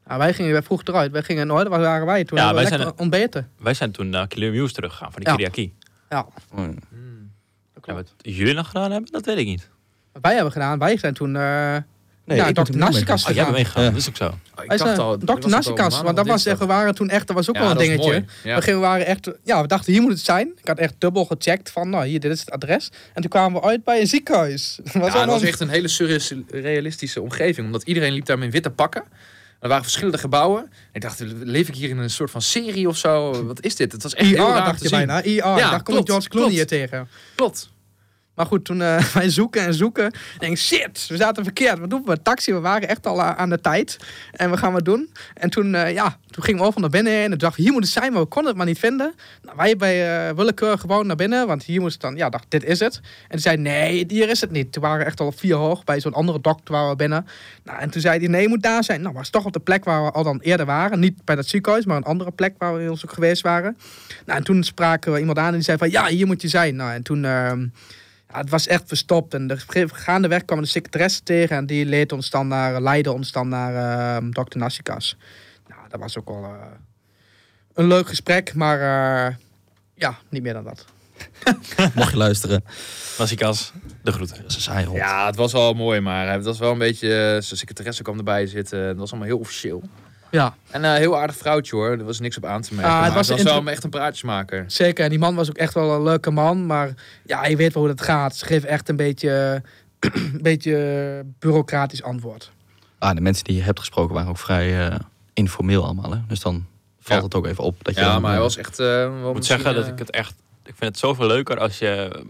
C: Ja, wij gingen weer vroeg eruit. Wij gingen, oh, waar waren wij toen?
A: Ja,
C: Hebben we
A: wij
C: lekker ontbeten.
A: Wij zijn toen naar Killer Muse teruggegaan van de
C: Ja.
A: Kiriaki.
C: Ja,
D: Oh,
C: dat
A: En
C: klopt.
A: wat jullie nog gedaan hebben, dat weet ik niet.
C: Wat wij hebben gedaan, wij zijn toen... eh
D: Nee,
C: ja,
D: ik moet
C: Dr.
D: hem niet
C: Nastikas
A: Oh, jij bent
C: gegaan.
A: meegegaan,
D: Ja.
A: dat is ook zo.
B: Oh, ik
C: Wij
B: dacht
C: zijn-
B: al, was
C: Dr.
B: het al
C: Nassikas,
B: maandag
C: want
B: of
C: dat was echt,
B: dinsdag?
C: we waren toen echt, dat was ook
B: Ja,
C: wel een
B: dat was
C: dingetje.
B: mooi. Ja.
C: We gingen, we waren echt, ja, we dachten, hier moet het zijn. Ik had echt dubbel gecheckt van, nou, hier, dit is het adres. En toen kwamen we uit bij een ziekenhuis. Dat was
B: Ja, het
C: allemaal-
B: was echt een hele surrealistische omgeving. Omdat iedereen liep daar met witte pakken. Er waren verschillende gebouwen. En ik dacht, leef ik hier in een soort van serie of zo? Wat is dit? Het was echt
C: IR,
B: heel raar
C: dacht
B: E te
C: je
B: zien.
C: bijna. IR, daar kom
B: klopt,
C: ik George Clooney hier
B: klopt.
C: tegen.
B: Klopt.
C: Maar goed, toen eh, wij zoeken en zoeken. Ik denk, shit, we zaten verkeerd. Wat doen we? Taxi, we waren echt al eh, aan de tijd. En we gaan wat doen. En toen, eh, ja, toen gingen we over naar binnen. En toen dachten we, hier moet het zijn, maar we konden het maar niet vinden. Nou, wij bij eh willekeur gewoon naar binnen. Want hier moest het dan, ja, dacht, dit is het. En toen zei, nee, hier is het niet. Toen waren we echt al vier hoog. Bij zo'n andere dokter waren we binnen. Nou, en toen zei hij, nee, je moet daar zijn. Nou, was toch op de plek waar we al dan eerder waren. Niet bij dat ziekenhuis, maar een andere plek waar we in ons ook geweest waren. Nou, en toen spraken we iemand aan en die zei van, ja, hier moet je zijn. Nou, en toen... ehm, ja, het was echt verstopt. En de, gaandeweg kwam de secretaresse tegen. En die leed ons dan naar, leidde ons dan naar ehm, Dr. Nassikas. Nou, dat was ook wel eh, een leuk gesprek. Maar eh, ja, niet meer dan dat.
D: Mocht je luisteren.
A: Nasikas, de groeten.
D: Dat is een saai hond.
B: Ja, het was wel mooi, maar eh, het was wel een beetje... eh, Zijn secretaresse kwam erbij zitten. Het was allemaal heel officieel.
C: Ja,
B: En een heel aardig vrouwtje hoor. Er was niks op aan te merken.
C: Ah, het
B: maar het
C: was
B: was,
C: een
B: wel
C: intro-
B: echt een praatjesmaker.
C: zeker. En die man was ook echt wel een leuke man. Maar ja, je weet wel hoe dat gaat. Ze geeft echt een beetje, een beetje bureaucratisch antwoord.
D: Ah, de mensen die je hebt gesproken waren ook vrij eh, informeel allemaal. Hè? Dus dan valt
B: Ja.
D: het ook even op. Dat je
B: Ja,
D: dan,
B: maar hij
D: eh,
B: was echt... eh, wel
A: Ik moet
B: misschien,
A: zeggen dat
B: eh,
A: ik het echt... Ik vind het zoveel leuker als je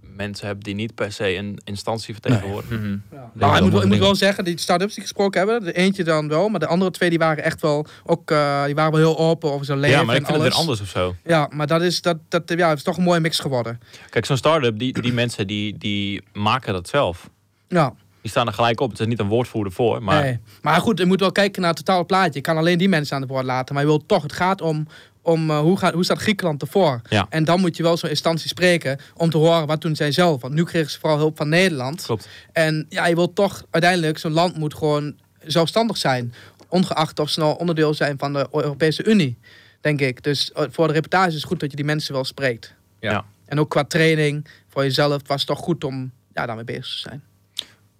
A: mensen hebt die niet per se een instantie vertegenwoordigen.
B: mhm.
C: Ja.
D: wel
C: Nou, ik, moet, wel- ik
D: mooie
C: moet wel
D: dingen.
C: zeggen, die start-ups die gesproken hebben, de eentje dan wel, maar de andere twee die waren echt wel, ook, eh, die waren wel heel open over zo'n leven
A: Ja, maar ik
C: en
A: vind het
C: alles.
A: weer anders of zo.
C: Ja, maar dat is, dat, dat, ja, het is toch een mooie mix geworden.
A: Kijk, zo'n start-up, die, die mensen die, die maken dat zelf.
C: Ja,
A: Die staan er gelijk op. Het is niet een woordvoerder voor, maar...
C: maar, maar goed, je moet wel kijken naar het totale plaatje. Je kan alleen die mensen aan het woord laten. Maar je wilt toch, het gaat om, om eh, hoe, gaat, hoe staat Griekenland ervoor?
A: Ja.
C: En dan moet je wel zo'n instantie spreken om te horen wat doen zij zelf. Want nu kregen ze vooral hulp van Nederland.
A: Klopt.
C: En ja, je wilt toch uiteindelijk, zo'n land moet gewoon zelfstandig zijn. Ongeacht of ze nou onderdeel zijn van de Europese Unie, denk ik. Dus eh, voor de reportage is het goed dat je die mensen wel spreekt.
B: Ja.
A: Ja.
C: En ook qua training voor jezelf was het toch goed om ja, daarmee bezig te zijn.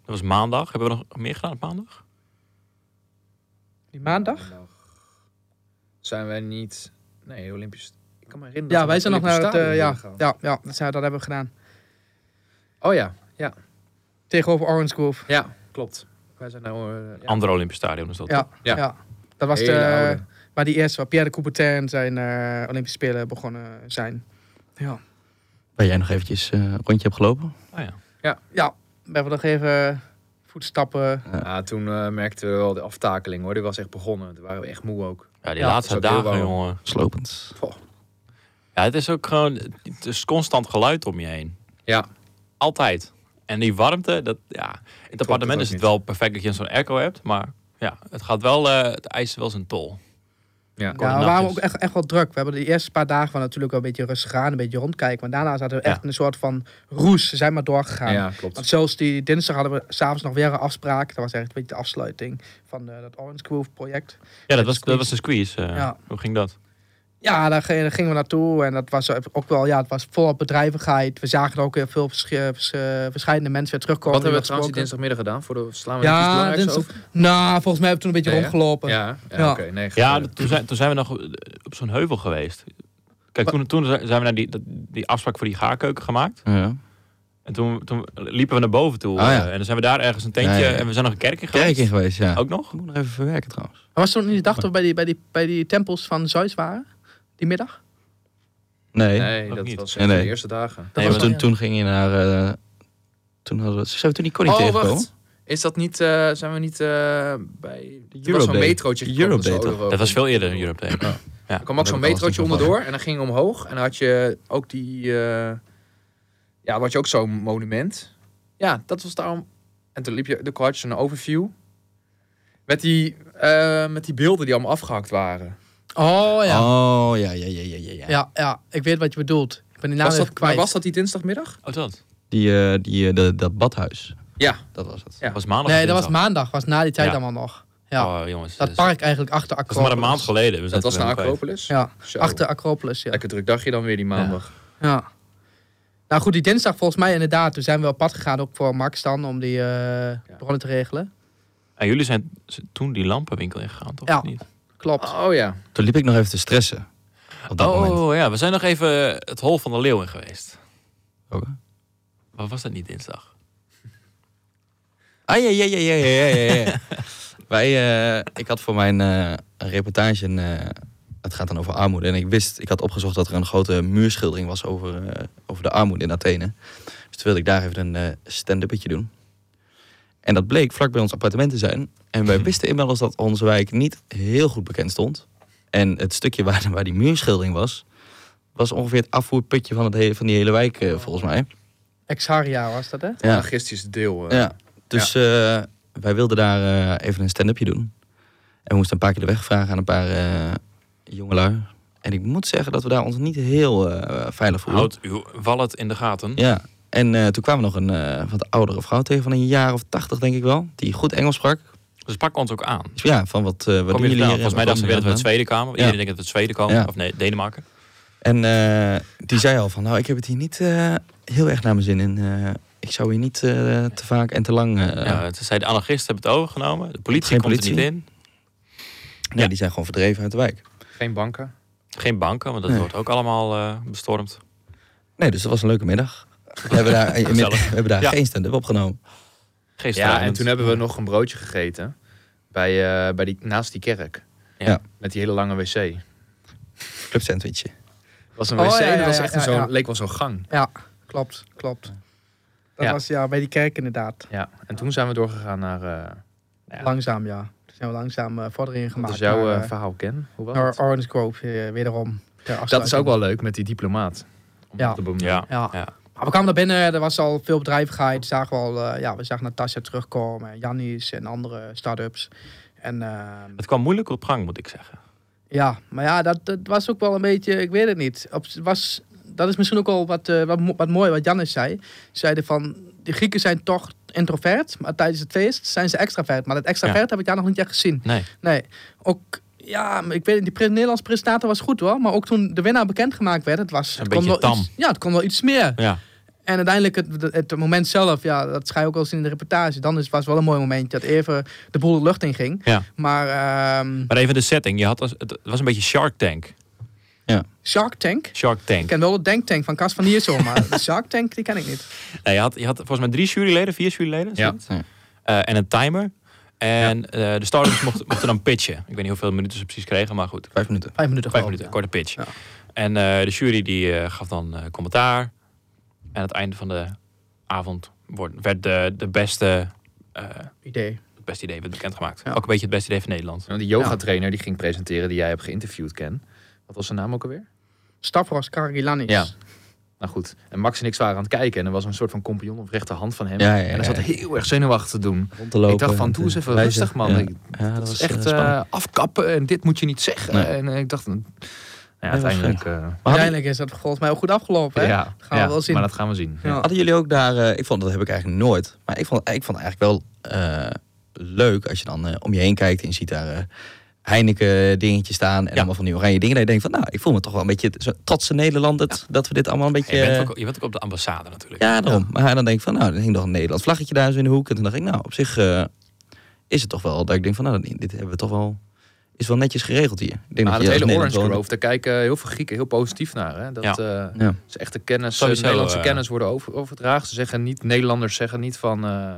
A: Dat was maandag. Hebben we nog meer gedaan op maandag?
C: Die maandag?
B: Zijn wij niet... Nee, Olympisch... Ik kan me herinneren
C: Ja,
B: dat
C: wij
B: we
C: zijn nog naar het...
B: Olympisch
C: eh, ja,
B: Stadion
C: ja, ja, dat, zijn, dat hebben we gedaan.
B: gingen. Oh ja,
C: Tegenover Orange Grove.
B: ja, klopt. Wij zijn nou... eh, ja.
A: Andere Olympisch Stadion is dat.
C: Ja, ja.
B: Ja.
C: Dat was eh,
B: Hele
C: de,
B: oude.
C: waar die eerste, waar Pierre de Coubertin zijn eh, Olympische Spelen begonnen zijn. Ja.
D: Waar jij nog eventjes eh, een rondje hebt gelopen.
A: Oh, ja.
C: Ja, we hebben nog even voetstappen.
B: Ja, toen eh, merkten we wel de aftakeling hoor. Die was echt begonnen. Toen waren we echt moe ook.
A: ja, die
C: Ja,
A: laatste
B: dat is ook heel
A: dagen,
B: warm.
A: jongen.
D: Slopend.
A: Ja, het is ook gewoon... Het is constant geluid om je heen.
B: Ja.
A: Altijd. En die warmte, dat, ja... In het
B: het
A: appartement
B: ook
A: is het
B: niet.
A: wel perfect dat je zo'n airco hebt, maar... Ja, het gaat wel... eh, het eist wel zijn tol.
B: Ja.
C: Ja, we
A: nachtjes.
C: waren ook echt, echt wel druk. We hebben de eerste paar dagen wel natuurlijk wel een beetje rustig aan, een beetje rondkijken. Maar daarna zaten we
A: Ja.
C: echt in een soort van roes. Ze zijn maar doorgegaan.
B: Ja, klopt.
C: Want zelfs die dinsdag hadden we s'avonds nog weer een afspraak. Dat was echt een beetje de afsluiting van eh, dat Orange Grove project.
A: Ja, dat was, dat was de squeeze. eh.
C: Ja.
A: Hoe ging dat?
C: Ja, daar ge- daar gingen we naartoe. En dat was ook wel, ja, het was volop bedrijvigheid. We zagen er ook heel veel vers- eh, vers- eh, verschillende mensen weer terugkomen.
B: Wat hebben we
C: die
B: trouwens die
C: gesproken.
B: dinsdagmiddag gedaan? Voor de slaan we
C: Ja,
B: ja, iets belangrijks
C: dinsdag-
B: over?
C: Nou, volgens mij hebben we toen een beetje
B: Nee, hè?
C: rondgelopen.
B: Ja, ja,
C: Ja.
B: oké. nee, ga
A: Ja,
B: verder.
A: dat- toen zijn, toen zijn we nog eh, op zo'n heuvel geweest. Kijk, toen, toen zijn we naar die, dat- die afspraak voor die gaarkeuken gemaakt.
D: Ja.
A: En toen, toen liepen we naar boven toe.
C: Oh
D: Ah, ja.
A: eh, En dan zijn we daar ergens een tentje.
D: Ja, ja, ja.
A: En we zijn nog een kerk in geweest.
D: Kerk in geweest, ja.
A: Ook nog?
D: Ik moet nog even verwerken trouwens.
C: Maar was toen niet de dag dat we bij die, bij, die, bij die tempels van Zeus waren? Die middag?
D: Nee.
B: Nee,
A: Ook
B: dat
A: niet.
B: was
D: Nee,
B: echt
D: nee.
B: de eerste dagen.
C: Dat
A: Nee,
D: Want
C: was
A: maar
D: toen,
C: ja.
D: toen ging je naar... eh, toen hadden we... Zijn we toen die Connie tegengekomen?
B: Oh, Is dat niet, eh, zijn we niet eh, bij... Er was zo'n
D: Euroday.
B: metrootje gekomen,
D: Euroday,
B: zo'n
D: toch?
B: Euro-
A: Dat was veel eerder in Europe Day.
B: Er kwam ook
D: Daar
B: zo'n
D: heb ik alles
B: metrootje
D: niet van
B: onderdoor en dan ging je omhoog. En dan had je ook die... eh, ja, dan had je ook zo'n monument. Ja, dat was daarom... En toen liep je, de had je zo'n overview. Met die, eh, met die beelden die allemaal afgehakt waren.
C: Oh ja.
D: Oh, ja, ja, ja, ja, ja. ja.
C: ja. Ja, ik weet wat je bedoelt. Ik ben die naam
B: was,
C: even
B: dat, maar
C: kwijt.
B: was dat die dinsdagmiddag?
A: Oh, dat.
D: Die, eh, die, eh, de, dat badhuis.
B: Ja.
D: Dat was het.
B: Ja.
A: was maandag.
C: nee, dat was
A: dinsdag.
C: maandag. was na die tijd
A: Ja.
C: allemaal nog. Ja.
A: Oh, jongens.
C: dat
A: is-
C: park eigenlijk achter
A: Dat
C: Acropolis.
A: is maar een maand geleden. We
B: Dat
A: zaten
B: was
A: weer
B: naar
A: kwijt.
B: Acropolis?
C: Ja,
B: Zo.
C: achter Acropolis, ja.
B: Lekker druk dagje dan weer die maandag.
C: ja. Nou goed, die dinsdag volgens mij inderdaad. Toen zijn we op pad gegaan ook voor Max dan, om die eh bronnen te regelen.
A: En jullie zijn z- toen die lampenwinkel ingegaan, toch?
C: Ja.
A: Of niet?
C: Klopt.
B: Oh ja.
D: Toen liep ik nog even te stressen. Op dat
A: oh,
D: moment.
A: ja. We zijn nog even eh, het hol van de leeuw in geweest.
D: Ook, hè?
A: Wat was dat niet dinsdag?
D: Ah, ja, ja, ja, ja, ja, ja, ja, ja. Wij, eh, ik had voor mijn eh, een reportage, een, eh, het gaat dan over armoede. En ik wist, ik had opgezocht dat er een grote muurschildering was over, eh, over de armoede in Athene. Dus toen wilde ik daar even een eh stand-uppetje doen. En dat bleek vlak bij ons appartement te zijn. En wij wisten inmiddels dat onze wijk niet heel goed bekend stond. En het stukje waar, waar die muurschildering was, was ongeveer het afvoerputje van, het hele, van die hele wijk, eh, volgens mij.
C: Exharia was dat, hè?
D: Ja.
B: Anarchistisch deel. eh.
D: Ja, dus eh, wij wilden daar eh, even een stand-upje doen. En we moesten een paar keer de weg vragen aan een paar eh jongelui. En ik moet zeggen dat we daar ons niet heel eh, veilig voelden.
A: Houd uw wallet in de gaten.
D: Ja, en eh, toen kwamen we nog een eh, wat oudere vrouw tegen van een jaar of tachtig, denk ik wel. Die goed Engels sprak.
A: Ze pakken ons ook aan.
D: Dus ja, van wat, eh wat
A: Kom
D: doen
A: je
D: jullie
A: vandaan?
D: hier?
A: Volgens mij
D: Waar
A: dachten ze weer
D: komen
A: dat we uit de
D: jullie
A: Tweede Kamer. Iedereen denkt dat we uit de Tweede Kamer.
D: Ja.
A: Of nee, Denemarken.
D: vandaan? En eh, die zei al van, nou, ik heb het hier niet eh, heel erg naar mijn zin in. eh, ik zou hier niet eh, te vaak en te lang... eh,
A: Ja, het zei de anarchisten hebben het overgenomen. De politie
D: Geen
A: komt
D: politie.
A: er niet in.
D: Nee,
A: ja.
D: die zijn gewoon verdreven uit de wijk.
B: Geen banken.
A: Geen banken, want dat
D: Nee.
A: wordt ook allemaal eh, bestormd.
D: Nee, dus dat was een leuke middag. We hebben daar, we
A: Gezellig.
D: hebben daar
A: Ja.
D: geen stand-up opgenomen.
A: Geen
B: Ja, en
A: strijdend.
B: toen hebben we nog een broodje gegeten. Bij, eh, bij die, naast die kerk.
D: Ja.
B: Met die hele lange wc. Het
D: Club sandwichje.
B: was een
C: Oh,
B: wc,
C: ja, ja,
B: dat was
C: ja,
B: echt
C: ja,
B: een zo'n,
C: ja.
B: leek wel zo'n gang.
C: Ja, klopt, klopt. Dat
B: Ja.
C: was ja bij die kerk inderdaad.
B: Ja. En toen zijn we doorgegaan naar... eh Ja.
C: Langzaam, ja. Toen zijn we langzaam eh, vorderingen
B: wat
C: gemaakt.
B: is jouw
C: naar,
B: eh,
C: eh,
B: verhaal, Ken? Hoe was
C: naar
B: het?
C: Orange Grove, eh, wederom. ter
B: Dat is
C: afsluiting.
B: ook wel leuk met die diplomaat. Om
C: Ja.
B: dat te benoemen.
A: Ja.
C: Ja.
A: Ja.
C: Maar we kwamen naar binnen, er was al veel bedrijvigheid. Zagen we, al, eh, ja, we zagen Natasja terugkomen, Jannis en andere start-ups. En ehm,
A: Het kwam moeilijk op gang, moet ik zeggen.
C: ja, maar ja, dat, dat was ook wel een beetje, ik weet het niet. Op, was, dat is misschien ook wel wat, eh, wat, mo- wat mooi wat Jannis zei. Ze zeiden van, de Grieken zijn toch introvert, maar tijdens het feest zijn ze extravert. Maar dat extravert heb ik daar nog niet echt gezien.
A: Nee.
C: Nee, ook... Ja, maar ik weet het, die pre- Nederlandse presentator was goed hoor. Maar ook toen de winnaar bekendgemaakt werd, het was...
A: Een
C: het kon
A: beetje
C: wel
A: tam.
C: Iets, ja, het kon wel iets meer.
A: Ja.
C: En uiteindelijk, het, het, het moment zelf, ja, dat schrijf ik ook al eens in de reportage. Dan is, was wel een mooi moment dat even de boel de lucht in ging.
A: Ja.
C: Maar ehm,
A: Maar even de setting. Je had, als- het was een beetje Shark Tank.
C: Shark Tank, ik
A: Shark Tank.
C: ken wel de Denktank van Cas van Hierzo, maar de Shark Tank, die ken ik niet.
A: Nee, je, had, je had volgens mij drie juryleden, vier juryleden. is
B: Ja.
A: dat?
D: Ja.
A: Eh, en een timer. En eh, de starters mochten, mochten dan pitchen. Ik weet niet hoeveel minuten ze precies kregen, maar goed.
D: Vijf minuten.
C: Vijf minuten
A: Vijf
C: geloof
A: minuten,
C: ik,
A: korte pitch.
C: Ja.
A: En eh, de jury die eh, gaf dan eh, commentaar. En aan het einde van de avond wordt, werd de, de beste, eh,
C: ja. Idee.
A: het beste idee werd bekendgemaakt.
C: Ja.
A: Ook een beetje het beste idee van Nederland.
B: En Die yoga-trainer die ging presenteren, die jij hebt geïnterviewd, Ken. Wat was zijn naam ook alweer?
C: Stavros Karagiannis.
B: Ja. Nou goed. En Max en ik waren aan het kijken. En er was een soort van compagnon of rechterhand van hem.
D: Ja, ja,
B: En hij zat
D: ja.
B: heel erg zenuwachtig te doen.
D: Rond te lopen.
B: ik dacht van,
D: en
B: doe eens
D: te
B: even
D: wijzen.
B: rustig, man.
D: Ja.
B: Ik-
D: Ja, dat,
B: dat is
D: was
B: echt
D: echt spannend.
B: eh, afkappen en dit moet je niet zeggen.
D: Nee.
B: En eh, ik dacht, nou ja,
D: was
B: uiteindelijk... eh,
D: maar hadden,
C: Uiteindelijk is dat volgens mij ook goed afgelopen. Hè?
B: ja,
C: gaan we
B: ja,
C: wel zien.
B: maar dat gaan we zien.
C: Ja.
D: hadden jullie ook daar... eh, ik vond, dat heb ik eigenlijk nooit. Maar ik vond, ik vond het eigenlijk wel eh, leuk als je dan eh, om je heen kijkt en je ziet daar... eh, Heineken dingetjes staan en allemaal van die oranje dingen. Dat je denkt van, nou, ik voel me toch wel een beetje zo'n trotse Nederlander dat- dat we dit allemaal een beetje...
A: Je, bent
D: eh,
A: ook, je bent ook op de ambassade natuurlijk.
D: Ja, daarom. Maar dan denk ik van, nou, dan hing nog een Nederlands vlaggetje daar zo in de hoek. En toen dacht ik, nou, op zich eh, is het toch wel dat ik denk van, nou, dit dit hebben we toch wel, is wel netjes geregeld hier. Ik denk
B: Maar
D: dat
B: het
D: je
B: hele
D: als
B: Orange
D: Nederlander
B: Grove, daar kijken heel veel Grieken heel positief naar. Hè? Dat
A: Ja.
B: eh,
D: Ja.
B: is echt de kennis,
A: Sowieso,
B: de Nederlandse
A: eh,
B: kennis worden over, overdraagd. Ze zeggen niet, Nederlanders zeggen niet van, eh,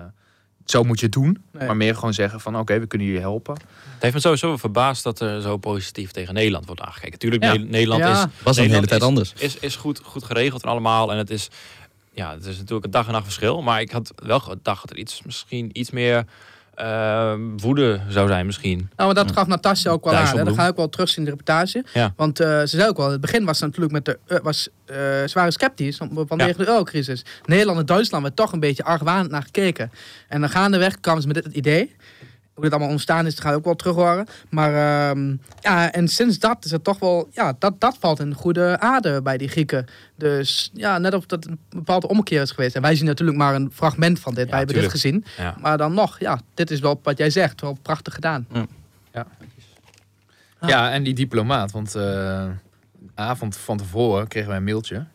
B: zo moet je het doen.
C: Nee.
B: Maar meer gewoon zeggen van, oké, we kunnen jullie helpen.
A: Het heeft me sowieso wel verbaasd dat er zo positief tegen Nederland wordt aangekeken. Tuurlijk,
B: Ja.
A: Ne- Nederland
C: Ja.
A: is
D: was dan de hele
A: Nederland
D: tijd
A: is-
D: anders.
A: is, is goed, goed geregeld en allemaal. En het is ja, het is natuurlijk een dag en nacht verschil. Maar ik had wel gedacht dat er iets, misschien iets meer eh, woede zou zijn misschien.
C: Nou, maar dat gaf Natasja ook wel aan. Hè? Dat
A: Dijsselbloem.
C: ga ik ook wel terugzien in de reportage.
A: Ja.
C: Want eh, ze zei ook wel, in het begin was ze natuurlijk met de, eh, was, eh, ze waren sceptisch om- vanwege de eurocrisis. Nederland en Duitsland werd toch een beetje argwanend naar gekeken. En dan gaandeweg kwamen ze met dit het idee. Hoe dit allemaal ontstaan is, dat ga je ook wel terug horen. Maar ehm, ja, en sinds dat is het toch wel, ja, dat, dat valt in goede aarde bij die Grieken. Dus ja, net of dat een bepaalde ommekeer is geweest. En wij zien natuurlijk maar een fragment van dit. wij hebben dit gezien.
A: Ja.
C: Maar dan nog, ja, dit is wel wat jij zegt, wel prachtig gedaan. Ah.
B: Ja, en die diplomaat. Want eh, de avond van tevoren kregen wij een mailtje.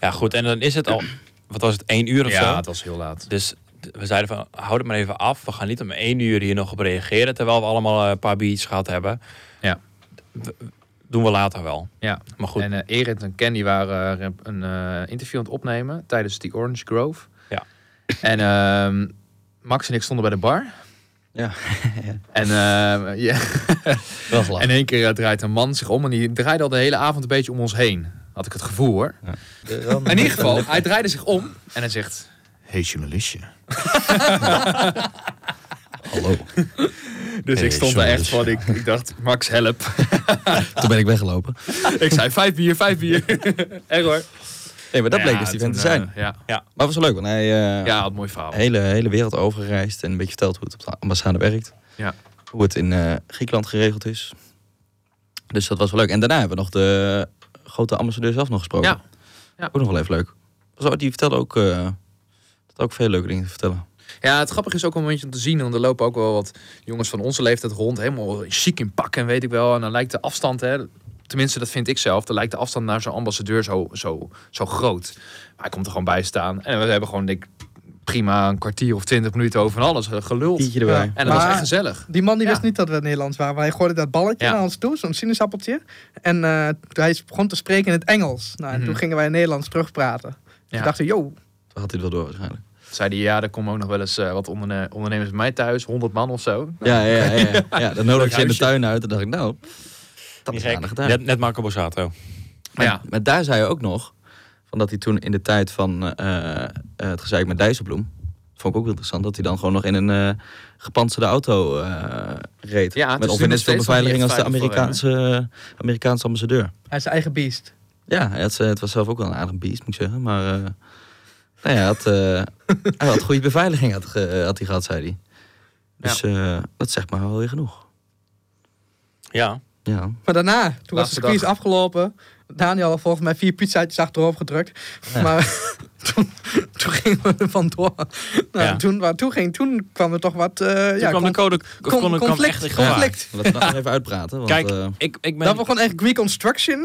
A: ja, goed. En dan is het al, wat was het, één uur of zo?
B: Ja, het was heel laat.
A: Dus d- we zeiden van, houd het maar even af. We gaan niet om één uur hier nog op reageren. Terwijl we allemaal eh, een paar biertjes gehad hebben.
B: Ja.
A: D- Doen we later wel.
B: Ja.
A: Maar goed,
B: En eh, Erit en Ken die waren eh, een eh, interview aan het opnemen tijdens die Orange Grove.
A: Ja.
B: En ehm, Max en ik stonden bij de bar.
D: Ja.
B: En, ehm, ja.
D: Wel gelachen.
B: en in één keer eh, draait een man zich om en die draaide al de hele avond een beetje om ons heen. Had ik het gevoel hoor. In ieder geval, hij draaide zich om en hij zegt... Hey journalistje.
D: Hallo.
B: Dus
D: Hey,
B: ik stond daar echt van, ik,
D: journalistje.
B: ik dacht, Max help.
D: Toen ben ik weggelopen.
B: ik zei, vijf bier, vijf bier. echt hoor.
D: Nee, maar dat bleek
B: Ja,
D: dus die
B: toen,
D: vent te
B: eh,
D: zijn.
B: ja,
D: Maar het was wel leuk, want hij eh
B: ja, wat een mooi verhaal.
D: hele, hele wereld overgereisd en een beetje verteld hoe het op de ambassade werkt.
B: Ja.
D: Hoe het in eh, Griekenland geregeld is. Dus dat was wel leuk. En daarna hebben we nog de grote ambassadeur zelf nog gesproken.
B: Ja. Ja.
D: Ook nog wel even leuk. Was ook- Die vertelde ook, eh, dat ook veel leuke dingen te vertellen.
B: Ja, het grappige is ook wel een beetje om te zien, want er lopen ook wel wat jongens van onze leeftijd rond, helemaal chic in pak en weet ik wel. En dan lijkt de afstand, hè, tenminste dat vind ik zelf, dan lijkt de afstand naar zo'n ambassadeur zo, zo, zo groot. Maar hij komt er gewoon bij staan en we hebben gewoon denk, ik, prima een kwartier of twintig minuten over van alles eh, geluld.
D: Tientje erbij.
C: Ja.
B: En dat was
C: Maar-
B: echt gezellig.
C: Die man die
B: Ja.
C: wist niet dat we Nederlands waren, maar hij gooide dat balletje
B: Ja.
C: naar ons toe, zo'n sinaasappeltje. En eh, hij begon te spreken in het Engels. Nou, en
B: Mhm.
C: toen gingen wij in Nederlands terugpraten.
B: Ja.
C: Toen dachten we, yo,
D: Toen had hij het wel door waarschijnlijk.
B: Toen Zei die ja, er komen ook nog wel eens eh, wat onderne- ondernemers bij mij thuis, 100 man of zo.
D: Ja, ja, ja. ja. ja dan nodigde ze in de
B: huisje.
D: tuin uit en dacht ik, nou, dat
A: niet
D: is
A: gek.
D: aardig gedaan.
A: Net, net Marco Borsato.
B: Maar ja,
D: Maar daar zei je ook nog, van dat hij toen in de tijd van eh, eh, het gezeik met Dijsselbloem, dat vond ik ook wel interessant, dat hij dan gewoon nog in een eh gepantserde auto eh, reed.
B: Ja, het
D: met
B: is nu
D: ongeveer
B: nog
D: zoveel
B: steeds nog niet echt
D: beveiliging als de
B: veilig voor hem,
D: Amerikaanse, Amerikaanse ambassadeur.
C: hij is zijn eigen beest.
D: Ja, hij had, ze- het was zelf ook wel een aardig beest, moet ik zeggen. Maar eh, nou ja, hij, had, eh, hij had goede beveiliging had, ge- had hij gehad, zei hij. Dus eh, dat zegt maar wel weer genoeg.
A: Ja.
D: Ja.
C: Maar daarna, toen was
B: Laatste
C: de quiz
B: dag.
C: afgelopen. Daniel had volgens mij vier pizzaatjes achterover gedrukt. Maar toen, toen gingen we er vandoor. Nou,
A: Ja.
C: toen, waar toe ging, toen kwam er toch wat... eh,
A: Toen
C: ja,
A: kwam de
C: kon-
A: code, kon, kon
C: conflict.
A: echt in gevaar.
C: conflict.
D: Laten we dat nog even uitpraten. Want,
A: Kijk,
D: eh,
A: Ik, ik, ben,
C: Dat we gewoon echt Greek Construction.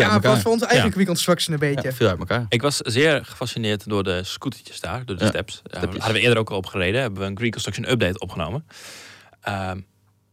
C: Ja,
D: uit
C: dat was
D: elkaar.
C: voor onze eigen
A: Ja.
C: Greek Construction een beetje.
D: Ja, viel uit elkaar.
A: ik was zeer gefascineerd door de scootertjes daar, door de
D: Ja,
A: steps. Daar
D: stepjes.
A: hadden we eerder ook al opgereden. Hebben we een Green Construction Update opgenomen. Ehm,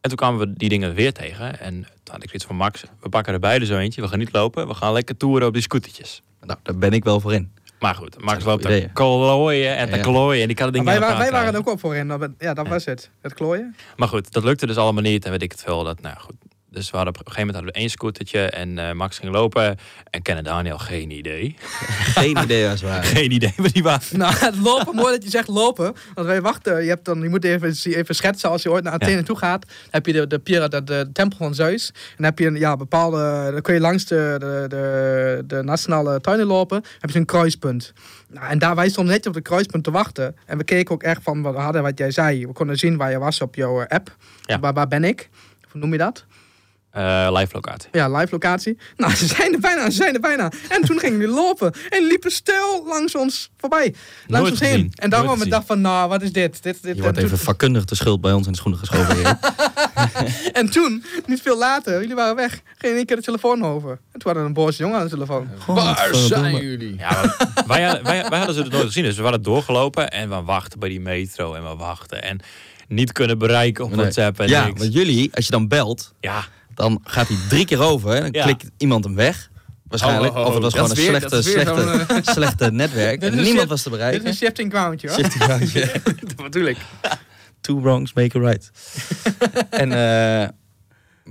A: en toen kwamen we die dingen weer tegen. En toen had ik zoiets van Max, we pakken er beide zo eentje. We gaan niet lopen, we gaan lekker toeren op die scootertjes.
D: Nou, daar ben ik wel voor in.
A: Maar goed, Max loopt
D: Ja, goeie
A: te
D: ideeën.
A: klooien en te
D: Ja.
A: klooien. En die kan het ding
C: Maar wij,
A: niet aan
C: waren, wij
A: elkaar
C: waren
A: krijgen.
C: ook op voorin. dat we- Ja, dat was het. Het klooien.
A: Maar goed, dat lukte dus allemaal niet. En weet ik het veel. Dat, nou goed. Dus we hadden op een gegeven moment hadden we één scootertje. En eh, Max ging lopen. En Ken en Daniel, geen idee.
D: Geen idee waar ze waren.
A: Geen idee waar die waren.
C: Nou, het lopen, mooi dat je zegt lopen. Want wij wachten. Je, hebt dan, je moet even, even schetsen als je ooit naar Athene toe gaat. Dan heb je de, de, Pira- de, de tempel van Zeus. En dan heb je een ja, bepaalde. Dan kun je langs de, de, de, de nationale tuinen lopen. Dan heb je zo'n kruispunt. Nou, en daar wij stonden netjes op het kruispunt te wachten. En we keken ook echt van wat we hadden wat jij zei. We konden zien waar je was op jouw eh, app.
A: Ja.
C: Waar, waar ben ik? Hoe noem je dat?
A: Eh, live locatie.
C: Ja, live locatie. Nou, ze zijn er bijna, ze zijn er bijna. En toen gingen jullie lopen en liepen stil langs ons voorbij. Langs
A: Nooit
C: ons
A: gezien.
C: heen. En daarom
A: Nooit
C: we
A: gezien.
C: dacht van, nou, wat is dit? dit, dit
D: Je wordt
C: en,
D: even
C: toen,
D: vakkundig de schuld bij ons in de schoenen geschoven. Erik.
C: en toen, niet veel later, jullie waren weg. Geen één keer de telefoon over. En toen hadden we een boze jongen aan de telefoon.
B: waar zijn
D: Godverdomme.
B: jullie?
A: Ja, maar wij, hadden- wij, wij hadden ze het nooit gezien. Dus we waren doorgelopen. En we wachten bij die metro. En we wachten. En niet kunnen bereiken op
D: Nee.
A: WhatsApp. En
D: Ja,
A: niks.
D: want jullie, als je dan belt,
A: ja.
D: dan gaat hij drie keer over. En dan
A: Ja.
D: klikt iemand hem weg. Waarschijnlijk.
B: Ho, ho, ho.
D: Of het was
B: Oh, Dat
D: gewoon
B: is
D: een
B: weer-
D: slechte,
B: dat is weer eh,
D: slechte, slechte netwerk.
C: Dit is
D: En
C: een
D: niemand
C: shit-
D: was te
C: Dit is een
D: bereiken.
C: shifting groundje hoor.
D: Shifty groundje.
B: Natuurlijk.
D: Two wrongs make a right. en eh, Maar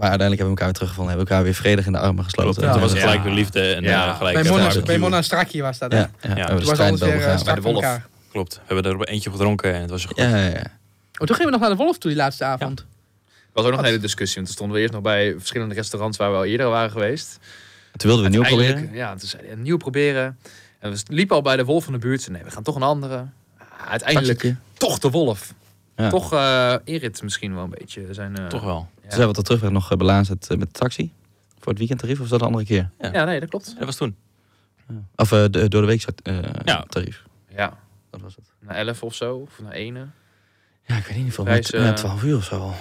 D: uiteindelijk hebben we elkaar weer teruggevonden. Hebben we elkaar weer vredig in de armen gesloten.
A: Toen was het
D: ja.
A: gelijk de liefde en
E: Ja.
A: eh, gelijk
C: Bij
A: het
C: Mona,
A: barbecue.
C: bij Mona Strakje was dat. hè?
D: Ja,
A: Ja.
D: ja. We
C: Toen
D: hebben
C: was
D: de
C: alles
D: strijdbel
C: weer eh,
D: begaan.
C: strak
A: de
C: van
A: wolf.
C: elkaar.
A: Klopt. We hebben er eentje gedronken en het was goed.
D: Ja, ja, ja.
C: Oh, toen gingen we nog naar de Wolf toe die laatste avond.
B: was ook nog een hele discussie, want toen stonden we eerst nog bij verschillende restaurants waar we al eerder waren geweest.
D: Toen wilden we nieuw
B: Uiteindelijk,
D: proberen.
B: Ja, toen zei hij, nieuw proberen. En we liepen al bij de wolf van de buurt. Zei, Nee, we gaan toch een andere. Ah, Uiteindelijk
D: Taxietje.
B: toch de wolf.
D: Ja.
B: Toch eh Erit misschien wel een beetje. Zijn, eh,
A: Toch wel.
D: Toen zijn we tot terugweg nog eh, belazerd eh, met de taxi. Voor het weekendtarief of was dat een andere keer?
A: ja.
B: Ja, nee, dat klopt.
A: Dat was toen.
D: Of eh, de, door de week eh,
A: Ja.
D: tarief.
B: Ja,
D: Dat was het.
B: naar 11 of zo. Of naar 1.
D: Ja, ik weet niet hoeveel.
B: Prijs,
D: Met,
B: eh,
D: na 12 uur of zo al.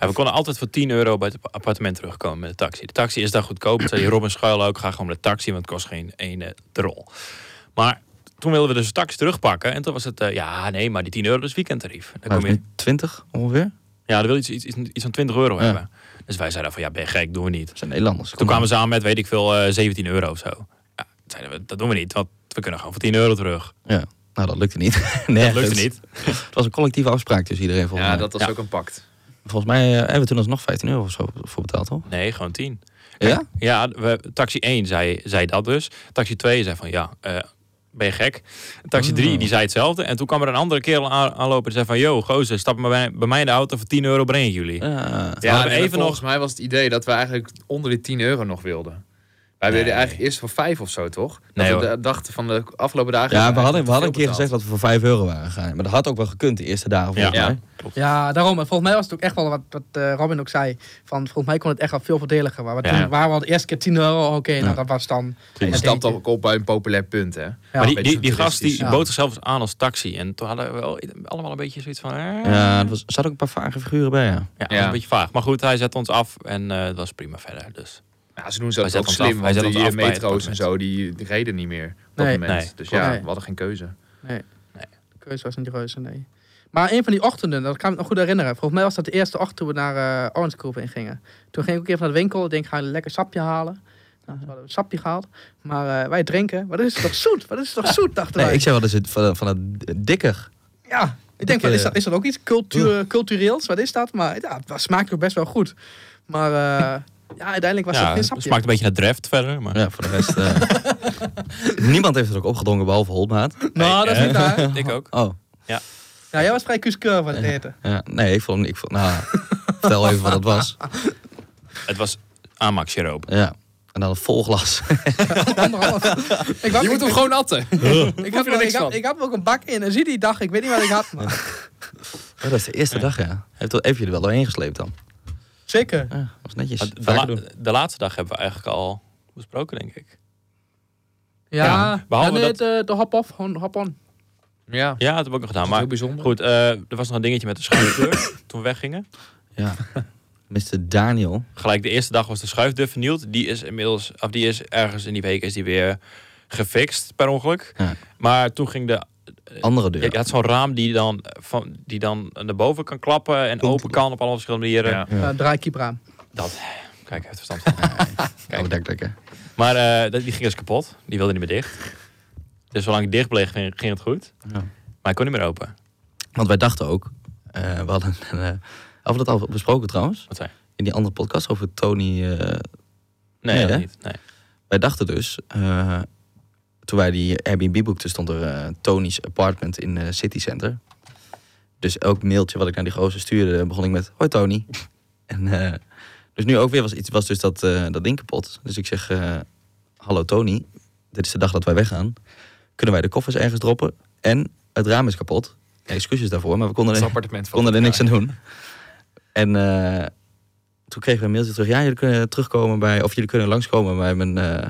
A: Ja, we konden altijd voor 10 euro bij het app- appartement terugkomen met de taxi. De taxi is daar goedkoop. Toen zei die Robin Schuil ook, ga gewoon met de taxi, want het kost geen ene drol. Maar toen wilden we dus de taxi terugpakken. En toen was het, eh, ja nee, maar die 10 euro is weekendtarief. Dan
D: Maar
A: kom
D: het
A: je,
D: is nu 20 Nou, ongeveer.
A: ja, dan wil je iets, iets, iets van 20 euro
D: Ja.
A: hebben. Dus wij zeiden van, ja ben je gek, doen we niet.
D: Dat zijn Nederlanders.
A: Toen kwamen ze aan met, weet ik veel, eh, 17 euro of zo. Ja, toen zeiden we, dat doen we niet, want we kunnen gewoon voor 10 euro terug.
D: Ja. Nou, dat lukte niet. nee,
A: Dat lukte niet.
D: Het was een collectieve afspraak tussen iedereen
B: Ja,
D: volgens mij.
B: dat was
A: Ja.
B: ook een pact.
D: Volgens mij eh, hebben we toen alsnog 15 euro of zo voor betaald, toch?
A: Nee, gewoon 10.
D: Ja?
A: Ja, we, taxi 1 zei, zei dat dus. Taxi 2 zei van ja, eh, ben je gek? Taxi 3
D: Ah.
A: die zei hetzelfde. En toen kwam er een andere kerel aan, aanlopen en zei van... Yo, gozer, stap maar bij, bij mij in de auto voor 10 euro breng ik jullie.
D: Ja.
A: Ja,
B: Ja,
A: maar
B: even
A: even
B: volgens mij was het idee dat we eigenlijk onder die 10 euro nog wilden. Wij
A: Nee.
B: wilden eigenlijk eerst voor 5 of zo, toch? Dat
A: Nee,
B: we
A: hoor.
B: da- dachten van de afgelopen dagen...
D: Ja, we hadden, we hadden een
B: te veel
D: keer gezegd dat we voor 5 euro waren gegaan. Maar dat had ook wel gekund de eerste dagen volgens
A: Ja.
D: mij.
C: Ja, daarom. En volgens mij was het ook echt wel wat, wat eh, Robin ook zei. Van, volgens mij kon het echt wel veel voordeliger. Maar
A: Ja.
C: toen waren we al de eerste keer 10 euro. Oké,
D: Ja.
C: nou, dat was dan...
B: Je
C: het
B: stapt
C: eten.
B: ook op bij een populair punt, hè?
C: Ja.
A: maar die,
B: beetje
A: die, die gast die
C: ja.
A: bood zichzelf aan als taxi. En toen hadden we wel allemaal een beetje zoiets van... eh,
D: Ja, er was- er zaten ook een paar vage figuren bij, ja.
A: ja, dat
B: Ja.
A: was een beetje vaag. Maar goed, hij zette ons af en eh het was prima verder. Dus
B: Ja, ze doen ze
A: Hij
B: dat
A: zet
B: ook
A: ons
B: slim,
A: af- hij
B: want
A: zet
B: die
A: ons af bij het
B: metro's en
A: appartement.
B: zo, die die reden niet meer op dat
C: Nee.
B: moment.
A: Nee.
B: Dus ja,
C: Nee.
B: we hadden geen keuze.
C: Nee, de keuze was niet reuze, nee. Maar een van die ochtenden, dat kan ik me nog goed herinneren. Volgens mij was dat de eerste ochtend toen we naar eh, Orange Grove in gingen. Toen ging ik ook even naar de winkel. Ik denk, ga een lekker sapje halen. Nou, we hadden een sapje gehaald. Maar eh, wij drinken. Wat is het toch zoet? Wat is het toch zoet, dachten
D: Nee,
C: wij.
D: ik zei wel, dat is het van, van het dikker.
C: Ja, ik denk, van, is, dat, is dat ook iets cultuur,
D: Oeh.
C: cultureels? Wat is dat? Maar ja, het smaakt ook best wel goed. Maar eh, ja, uiteindelijk was
A: ja,
C: het geen
A: het
C: sapje.
A: smaakt een beetje naar Dreft verder. Maar
D: Ja, voor de rest... eh, niemand heeft het ook opgedronken, behalve Holmaat.
C: Nou, dat is niet waar.
A: ik ook.
D: Oh,
C: Ja, jij was vrij kuskeur van het eten.
D: ja. Nee, ik vond hem... Ik vond, nou, vertel even wat het was.
A: Het was aanmaakjeroop.
D: Ja. En dan een vol glas.
C: Anderhalf. Ik was,
B: Je moet
C: ik,
B: hem gewoon atten.
C: ik, had,
B: er niks
C: ik, had,
B: van.
C: ik had ook een bak in en zie die dag, ik weet niet wat ik had. Maar...
D: Oh, dat is de eerste dag, ja. Heeft, wel- heeft je er wel doorheen gesleept dan?
C: Zeker.
D: Ja, dat was netjes.
A: Maar De,
D: Vaker
A: la-
D: doen.
A: de laatste dag hebben we eigenlijk al besproken, denk ik.
C: Ja,
A: Ja, behalve
C: ja, nee,
A: dat-
C: de, de hop-off, gewoon hop-on.
B: Ja,
A: Ja, dat hebben we ook nog gedaan.
B: heel
A: Maar
B: bijzonder.
A: Goed, eh, er was nog een dingetje met de schuifdeur toen we weggingen.
D: Ja. Mr. Daniel.
A: Gelijk de eerste dag was de schuifdeur vernield. Die is inmiddels, of die is ergens in die week is die weer gefixt per ongeluk.
D: Ja.
A: Maar toen ging de,
D: Andere deur.
A: je had zo'n raam die dan, van, die dan naar boven kan klappen en open kan op alle verschillende manieren.
B: Ja.
C: Ja. draaikiepraam.
A: Dat, kijk, hij heeft verstand van.
D: Oude dekdekker.
A: maar eh, dat- die ging dus kapot. Die wilde niet meer dicht. Dus zolang ik dicht bleef, ging, ging het goed.
D: Ja.
A: Maar ik kon niet meer open.
D: Want wij dachten ook, eh, we hadden een, eh, hadden we dat al besproken trouwens,
A: Wat zei?
D: in die andere podcast over Tony. eh,
A: Nee,
D: Nee,
A: dat
D: hè?
A: niet. Nee.
D: wij dachten dus, eh, toen wij die Airbnb boekten, stond er eh, Tony's apartment in eh City Center. Dus elk mailtje wat ik naar die gozer stuurde, begon ik met, hoi Tony. en, eh, dus nu ook weer was, iets, was dus dat, eh, dat ding kapot. Dus ik zeg, eh, hallo Tony, dit is de dag dat wij weggaan. Kunnen wij de koffers ergens droppen? En het raam is kapot. Excuses daarvoor, maar we konden
B: Het
A: eh,
D: er-
B: appartement
D: we
B: van
D: konden er niks aan doen. En eh, toen kregen we een mailtje terug. Ja, jullie kunnen terugkomen bij, of jullie kunnen langskomen bij mijn eh,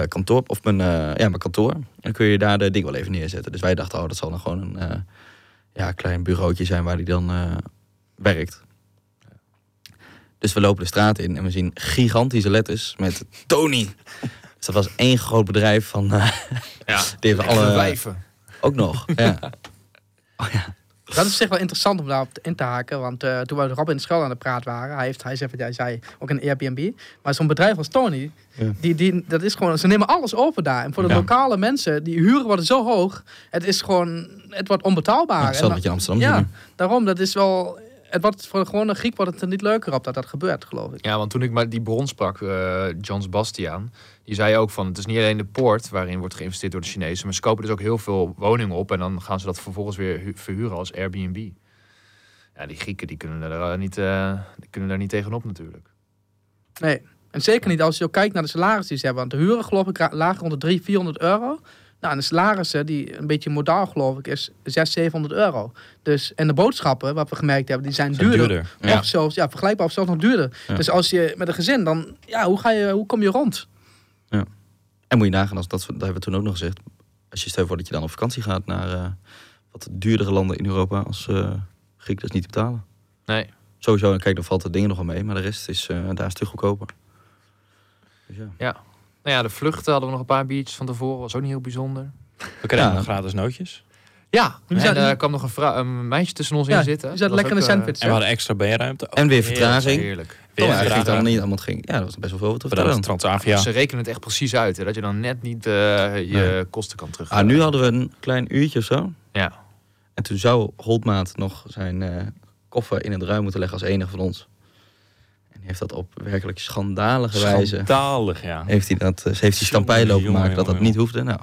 D: eh, kantoor. Of mijn, eh, ja, mijn kantoor. En dan kun je daar de ding wel even neerzetten. Dus wij dachten, oh, dat zal dan gewoon een eh, ja, klein bureautje zijn waar die dan eh, werkt. Dus we lopen de straat in en we zien gigantische letters met Tony. Dus dat was één groot bedrijf van... eh,
B: Ja.
D: die heeft alle...
B: wijven.
D: Ook nog,
C: Ah,
D: ja.
C: Dat is op zich wel interessant om daarop in te haken. Want eh, toen we met Robin Schuil aan de praat waren, hij, heeft, hij zegt wat jij zei, ook een Airbnb. Maar zo'n bedrijf als Tony,
D: Ja.
C: die, die, dat is gewoon, ze nemen alles over daar. En voor de
A: Ja.
C: lokale mensen, die huren worden zo hoog. Het is gewoon, het wordt onbetaalbaar.
D: Hetzelfde
C: En
D: wat je in
C: dan-
D: Amsterdam
C: ja,
D: ziet nu.
C: daarom, dat is wel het wordt voor gewoon een Griek wordt het er niet leuker op dat dat gebeurt, geloof ik.
B: Ja, want toen ik maar die bron sprak, eh, John Sebastian, die zei ook van het is niet alleen de poort waarin wordt geïnvesteerd door de Chinezen, maar ze kopen dus ook heel veel woningen op en dan gaan ze dat vervolgens weer hu- verhuren als Airbnb. Ja, die Grieken die kunnen, er, eh, niet, eh, die kunnen daar niet tegenop natuurlijk.
C: Nee. En zeker niet als je ook kijkt naar de salarissen die ze hebben. Want de huren, geloof ik, ra- lagen rond de 300, 400 euro. Nou, en de salarissen, die een beetje modaal, geloof ik, is 600, 700 euro. Dus, en de boodschappen, wat we gemerkt hebben, die zijn duurder.
A: duurder.
D: Ja.
C: Of zelfs, ja, vergelijkbaar of zelfs nog duurder.
D: Ja.
C: Dus als je met een gezin, dan, ja, hoe, ga je, hoe kom je rond?
D: En moet je nagaan, als dat, dat hebben we toen ook nog gezegd. Als je stel je voor dat je dan op vakantie gaat naar eh, wat duurdere landen in Europa als eh Griek, dat is niet te betalen.
B: Nee.
D: Sowieso, kijk, dan valt de dingen nog wel mee, maar de rest is eh, daar een stuk goedkoper. Dus ja.
B: Nou ja, de vluchten hadden we nog een paar biertjes van tevoren, was ook niet heel bijzonder.
A: We krijgen
D: Ja.
A: nog gratis nootjes.
B: Ja,
C: Nu
B: en
C: zijn-
B: er kwam nog een, vrou- een meisje tussen ons
C: Ja,
B: in zitten.
C: je zat
B: Dat
C: lekker
B: was
C: in de
B: ook, eh,
A: En we hadden extra BR-ruimte.
D: En weer vertraging. Oh,
B: Heerlijk.
A: Oh, Weer
D: ja, het ging
A: vertraging.
D: allemaal niet, allemaal het ging. Ja, dat was best wel veel wat te
A: We hadden
D: vertellen.
A: Transavia.
B: Ze rekenen het echt precies uit, hè, dat je dan net niet eh, je
D: Nee.
B: kosten kan terug.
D: Ah, nu hadden we een klein uurtje of zo.
B: Ja.
D: En toen zou Holtmaat nog zijn eh, koffer in het ruim moeten leggen als enige van ons. En die heeft dat op werkelijk schandalige wijze...
A: Schandalig, ja.
D: Heeft hij dat, eh, heeft hij stampij
A: Jongen,
D: lopen
A: jongen,
D: maken dat dat
A: jongen.
D: niet hoefde? Nou,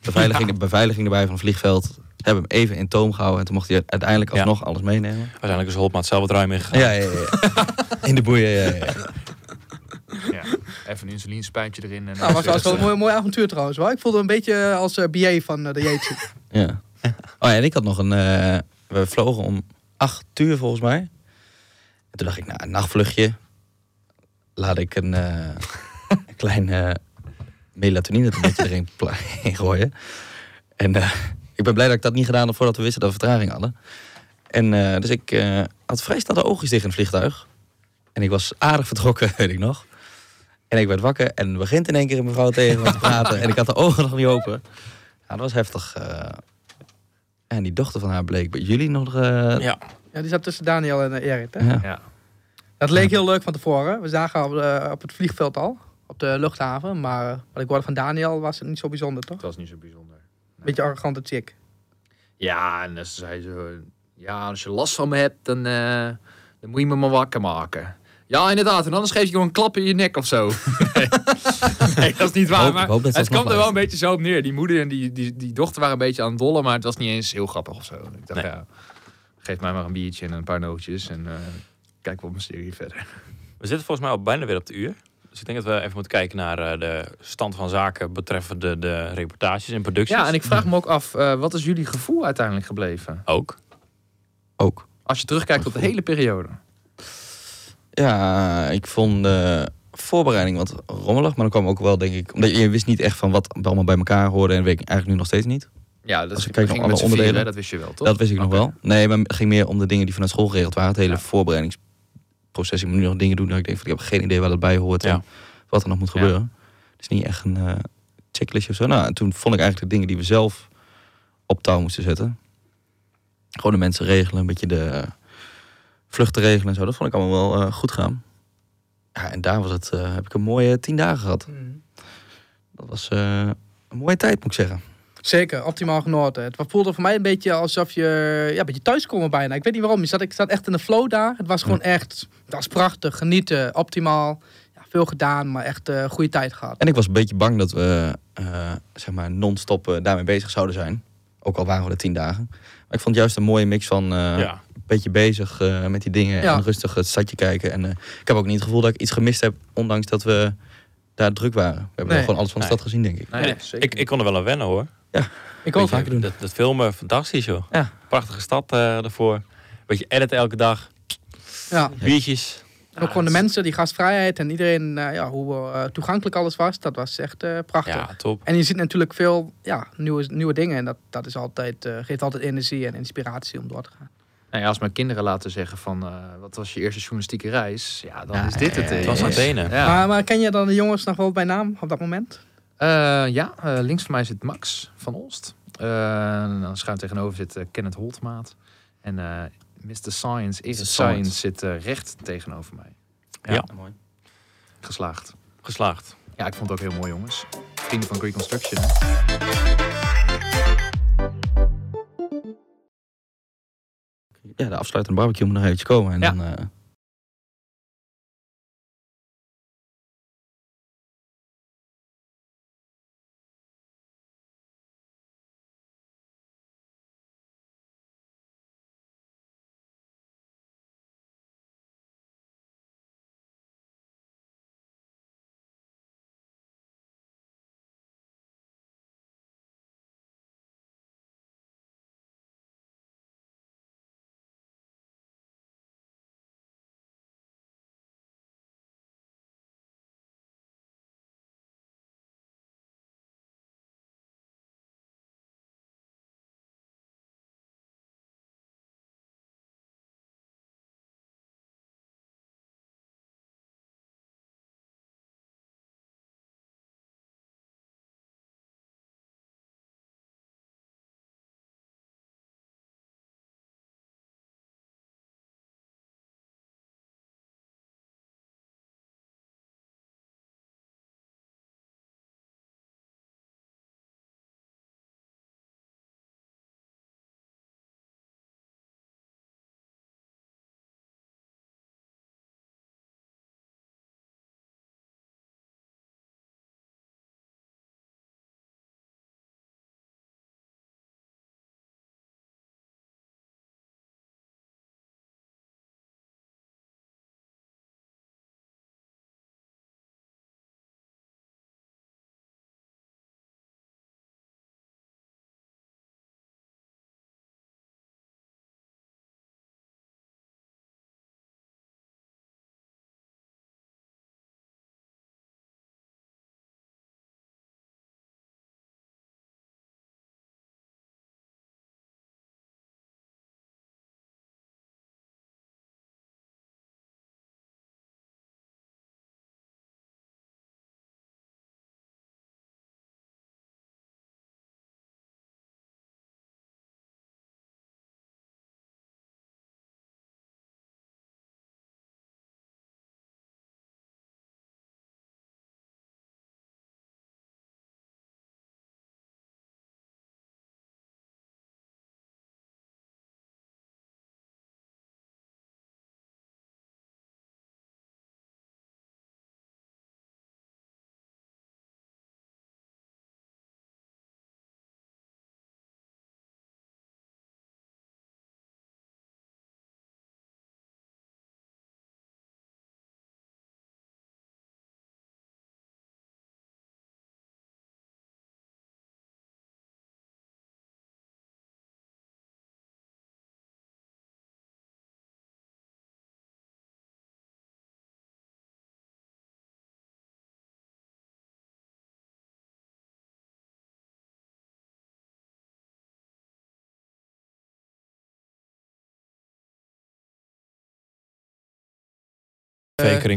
D: beveiliging, de beveiliging erbij van het vliegveld. Hebben hem even in toom gehouden. En toen mocht hij uiteindelijk
A: Ja.
D: alsnog alles meenemen.
A: Uiteindelijk is Holtmaat zelf het ruim ingegaan.
D: Ja, ja, ja. ja. In de boeien, ja, ja. ja.
B: Ja, even een insulinespijntje erin. En
C: Nou, was, was wel een mooi, mooi avontuur trouwens. Wel. Ik voelde een beetje als eh BA van eh, de Jeetje.
D: Ja. Oh ja, en ik had nog een... eh, we vlogen om acht uur volgens mij. En toen dacht ik, nou, een nachtvluchtje. Laat ik een, eh, een klein eh melatonine tabletje erin pla- in gooien. En eh, ik ben blij dat ik dat niet gedaan had voordat we wisten dat we vertraging hadden. En eh, dus ik eh, had vrij snel de oogjes dicht in het vliegtuig. En ik was aardig vertrokken, weet ik nog. En ik werd wakker en begint in één keer een mevrouw tegen me te praten. En ik had de ogen nog niet open. Ja, dat was heftig. eh. en die dochter van haar bleek bij jullie nog... eh,
A: Ja.
C: Ja, die zat tussen Daniel en eh, Erik. Hè?
D: ja.
B: Ja.
C: Dat leek heel leuk van tevoren. We zagen op, eh, op het vliegveld al, op de luchthaven. Maar eh, wat ik hoorde van Daniel was het niet zo bijzonder, toch?
B: Het was niet zo bijzonder.
C: Beetje arrogante chick.
B: Ja, en dan zei ze... Ja, als je last van me hebt, dan, eh, dan moet je me maar wakker maken. Ja, inderdaad. En anders geef je gewoon een klap in je nek of zo. nee, dat is niet
D: Ik
B: waar.
D: hoop-
B: Maar
D: ik hoop dat ze
B: het
D: alsnog
B: kwam er wel een
D: luistert.
B: beetje zo op neer. Die moeder en die, die, die dochter waren een beetje aan het dollen, maar het was niet eens heel grappig of zo. Ik dacht,
A: Nee.
B: ja, geef mij maar een biertje en een paar nootjes en eh, kijk wat mijn serie verder.
A: We zitten volgens mij al bijna weer op de uur. Dus ik denk dat we even moeten kijken naar eh, de stand van zaken betreffende de reportages en producties.
B: Ja, en ik vraag me ook af, eh, wat is jullie gevoel uiteindelijk gebleven?
A: Ook.
D: Ook.
B: Als je terugkijkt op de hele periode.
D: Ja, ik vond de voorbereiding wat rommelig. Maar dan kwam ook wel, denk ik... Omdat je wist niet echt van wat allemaal bij elkaar hoorde. En weet ik eigenlijk nu nog steeds niet.
B: Ja, dat
D: Als
B: is,
D: ik kijk
B: ging
D: naar
B: met
D: alle
B: z'n vieren,
D: onderdelen.
B: dat wist je wel, toch?
D: Dat wist ik nog
B: Oké.
D: wel. Nee, maar het ging meer om de dingen die vanuit school geregeld waren. Het hele
B: Ja.
D: voorbereidingsproces. Ik moet nu nog dingen doen dat ik denk van... Ik heb geen idee waar dat bij hoort.
A: Ja.
D: En wat er nog moet
B: Ja.
D: gebeuren. Het is niet echt een eh, checklistje of zo. Nou, en toen vond ik eigenlijk de dingen die we zelf op touw moesten zetten. Gewoon de mensen regelen. Een beetje de eh, vluchten regelen en zo. Dat vond ik allemaal wel eh, goed gaan. Ja, en daar was het, eh, heb ik een mooie tien dagen gehad. Dat was eh, een mooie tijd, moet ik zeggen.
C: Zeker, optimaal genoten. Het voelde voor mij een beetje alsof je ja, een beetje thuiskomen bijna. Ik weet niet waarom. Je zat, ik zat echt in de flow daar. Het was gewoon echt, dat was prachtig, genieten, optimaal. Ja, veel gedaan, maar echt eh goede tijd gehad.
D: En ik was een beetje bang dat we eh, zeg maar non-stop eh, daarmee bezig zouden zijn. Ook al waren we er tien dagen. Maar ik vond het juist een mooie mix van eh,
A: Ja.
D: een beetje bezig eh, met die dingen.
C: Ja.
D: En rustig het stadje kijken. En eh, ik heb ook niet het gevoel dat ik iets gemist heb, ondanks dat we daar druk waren. We hebben
C: Nee.
D: wel gewoon alles van de
A: Nee.
D: stad gezien, denk ik.
B: Nee,
A: Nee, ik, ik kon er wel aan wennen hoor.
C: Ik
D: Weet
C: ook.
D: je, vaker doen.
A: Dat, dat filmen, fantastisch joh.
D: Ja.
A: Prachtige stad eh ervoor. Beetje edit elke dag.
C: Ja.
A: Biertjes.
C: En ook gewoon de mensen, die gastvrijheid en iedereen, eh, ja, hoe eh, toegankelijk alles was. Dat was echt eh, prachtig.
A: Ja, top.
C: En je ziet natuurlijk veel ja, nieuwe, nieuwe dingen. En dat, dat is altijd, eh, geeft altijd energie en inspiratie om door te gaan.
B: Nou ja, als mijn kinderen laten zeggen van, eh, wat was je eerste journalistieke reis? Ja, dan is dit het.
D: ja,
B: eh,
A: Het was
B: jongens.
A: Athene.
B: Ja,
C: Maar, maar ken je dan de jongens nog wel bij naam op dat moment?
B: Eh, ja eh, links van mij zit Max van Olst. Eh, en dan schuin tegenover zit eh, Kenneth Holtmaat. En eh, Mr. Science, Eric
D: Science.
B: Science, zit eh, recht tegenover mij.
A: Ja.
D: mooi.
B: Geslaagd.
A: Geslaagd.
B: Ja, ik vond het ook heel mooi, jongens. Vrienden van Reconstruction.
D: ja, de afsluitende barbecue moet nog eventjes komen. En
B: Ja.
D: dan, eh,
A: Veker